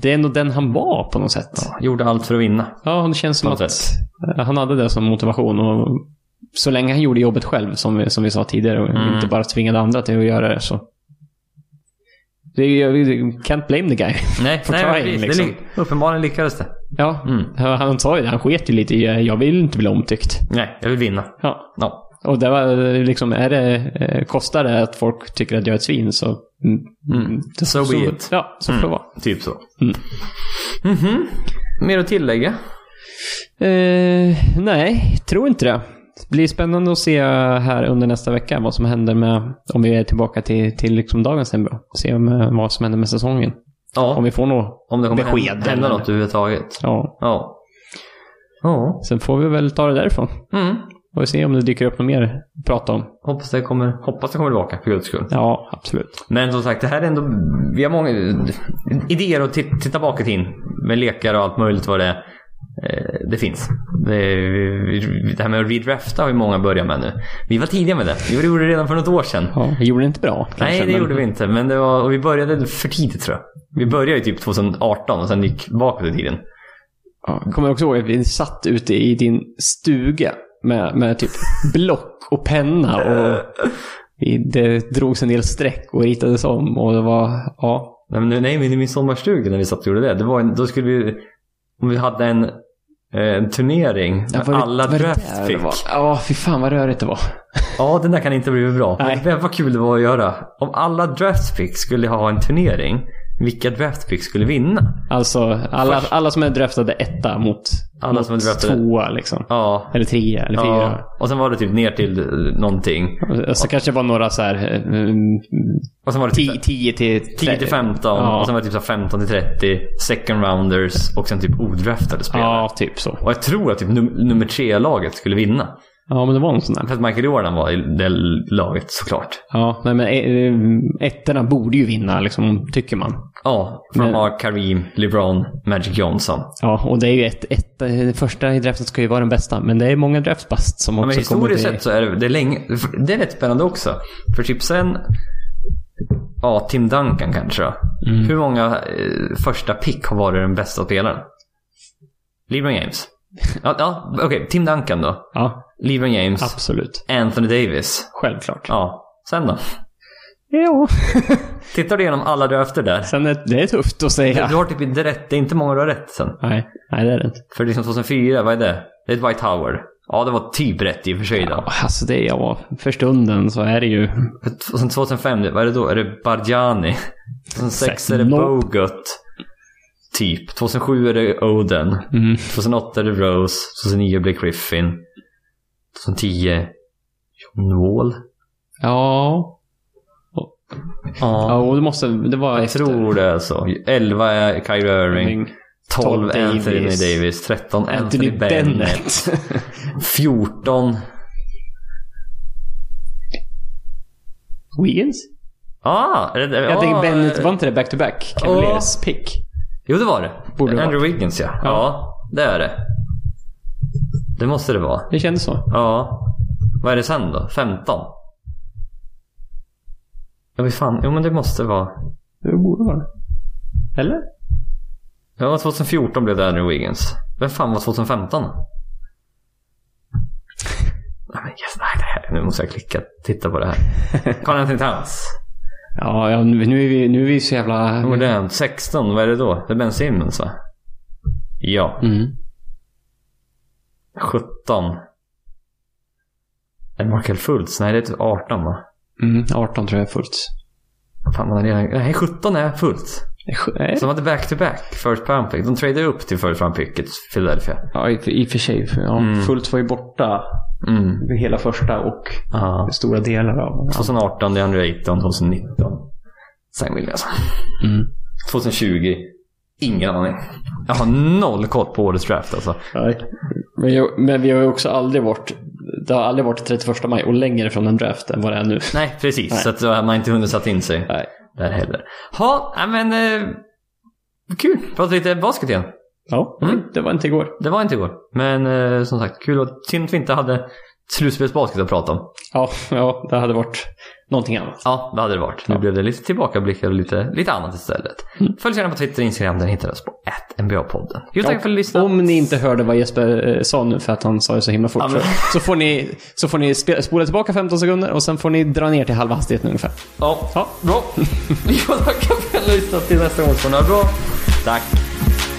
det är ändå den han var på något sätt. Gjorde allt för att vinna. Ja, det känns som På något att han hade det som motivation. Och så länge han gjorde jobbet själv, som vi, som vi sa tidigare, och Mm. inte bara tvingade andra till att göra det, så... Det är, ju- can't blame the guy. Nej, For nej precis. trying, Det liksom. ly- uppenbarligen lyckades det. Ja, Mm. han- han sa ju det. Han sket ju lite i jag vill inte bli omtyckt. Nej, jag vill vinna. Ja. Ja. Och det var liksom, är det, eh, kostar det att folk tycker att jag är ett svin så... Mm, Mm. det- So be it. Ja, så får det vara. Typ så. Mm. Mhm. Mer att tillägga? Eh, nej, tror inte det. Det blir spännande att se här under nästa vecka vad som händer med, om vi är tillbaka till, till liksom dagens NBA. Se om, eh, vad som händer med säsongen. Ja, Om om, vi får något. det kommer besked hända, hända eller- något överhuvudtaget. Ja. Ja. Ja. Sen får vi väl ta det därifrån. Mm. Och se om det dyker upp något mer att prata om. Hoppas det kommer, hoppas det kommer tillbaka för guds skull. Ja, absolut. Men som sagt, det här är ändå... Vi har många idéer att ti- titta bakåt in. Med lekar och allt möjligt vad det är. Eh, Det finns. Det, är- det här med att redrafta har ju många börjat med nu. Vi var tidiga med det. Vi gjorde det redan för något år sedan. Ja, vi gjorde det inte bra. Nej, kanske, det men- gjorde vi inte. Men det var, och vi började för tidigt tror jag. Vi började ju typ 2018 och sen gick bakåt i tiden. Ja, Mm. kommer jag också ihåg att vi satt ute i din stuga med, med typ block och penna Eh, och vi, det drogs en del streck och ritades om och det var, ja. Nej, men, nej, men i min sommarstuga när vi satt och gjorde det. det var en, då skulle vi... Om vi hade en, eh, en turnering där var det- alla var det draft där det fick. var? Ja, fy fan vad rörigt det var. Ja, den där kan inte bli bra. Nej. Men vad kul det var att göra. Om alla draft picks skulle ha en turnering vilka draftpicks skulle vinna. Alltså alla, alla som är draftade etta mot, Alla mot som är draftade- tvåa liksom. Ja. Eller trea eller fyra. ja. Och sen var det typ ner till eh, någonting. Och så kanske det var några så här... eh, mm, Och sen var det ti- typ tio till... 10 till 15 Ja. och sen var det typ så här 15 till 30. Second rounders och sen typ odraftade spelare. Ja, typ så. Och jag tror att typ num- nummer tre-laget skulle vinna. Ja, men det var en sån där. För att Michael Jordan var i det laget såklart. Ja, nej, men eh, ettorna borde ju vinna, liksom, tycker man. Ja, för de Men- har Kareem, LeBron, Magic Johnson. Ja, och det är ju ett, ett, den första i draften ska ju vara den bästa, men det är många draftbast som Ja, också men kommer historiskt till... sett så är det, det, är länge, det är rätt spännande också. För typ sen, ja, Tim Duncan kanske då. Hur många eh, första pick har varit den bästa spelaren? LeBron James. Ja, ja okej. Tim Duncan då. Ja, LeBron James. absolut. Anthony Davis. Självklart. Ja, sen då? Ja. Tittar du igenom alla drafter där. Sen är, det är tufft att Du, säga. du har typ inte rätt. Det är inte många du har rätt sen. Nej, nej det är det inte. För liksom 2004, vad är det? Det är Dwight Howard. Ja, det var typ rätt i och för sig då. Ja, alltså det är, ja, för stunden så är det ju... Och sen 2005, vad är det då? Är det Bargiani? 2006 är det Nope. Bogut. Typ. 2007 är det Oden. Mm. 2008 är det Rose. 2009 blir Griffin. 2010 John Wall. Ja. Ja, Ja, och det måste... Det var jag efter... tror det är så. 11 är Kyrie Irving. 12 12 Anthony Davis. Davis. 13 Anthony, Anthony Bennett. Bennett. 14. Wiggins? Ah, är det, Jag ah, tänker Bennett, var inte det back-to-back? Cavaliers pick? Jo, det var det. Borde det Andrew Wiggins, ja. ja. det är det. Det måste det vara. Det kändes så. Ja. Vad är det sen då? 15? Ja, men fan. Jo, men det måste vara... Det borde vara det. Eller? Ja, 2014 blev det Andrew Wiggins. Vem fan var 2015? Nej, men yes, nej, det här. Nu måste jag klicka. Titta på det här. Carl Anthony Towns. Ja, ja nu, nu, är vi, nu är vi så jävla... Modernt. 16, vad är det då? Det är Ben Simmons va? Ja. Mm. 17. Är det Markel Fultz? Nej, det är 18 va? Mm, 18 tror jag är fullt. Fan, man har redan... Nej, 17 är Fultz. Nej. Så de hade back-to-back first round pick. De tradade upp till first round picket Philadelphia. Ja, i, i och för sig. för- Ja, Mm. Fullt var ju borta Mm. hela första och Ja. stora delar av... 2018, det är 2019, 2019. Sam Williams. Mm. 2020. Ingen aning. Jag har noll koll på årets draft alltså. Nej. Men, jag, men vi har ju också aldrig varit... Det har aldrig varit 31 maj och längre från en draft än vad det är nu. Nej, precis. Så att då har man inte hunnit satt in sig Nej. där heller. Ha, ja, men... Eh, kul. Prata lite basket igen. Ja, Mm. det var inte igår. Det var inte igår. Men eh, som sagt, kul att synd att vi inte hade slutspelsbasket att prata om. Ja, ja, det hade varit någonting annat. Ja, det hade det varit. Nu Ja. Mm. blev det lite tillbakablickar och lite, lite annat istället. Följ oss gärna på Twitter och Instagram. Där hittar du oss på NBA-podden. Jo, tack för att du lyssnade. Om ni inte hörde vad Jesper eh, sa nu för att han sa det så himla fort Ja, men- så, så får ni, så får ni spe- spola tillbaka 15 sekunder och sen får ni dra ner till halva hastigheten ungefär. Ja, Ja. bra. Jo, tackar för att du lyssnade. Till nästa gång så får ni ha det bra. Tack.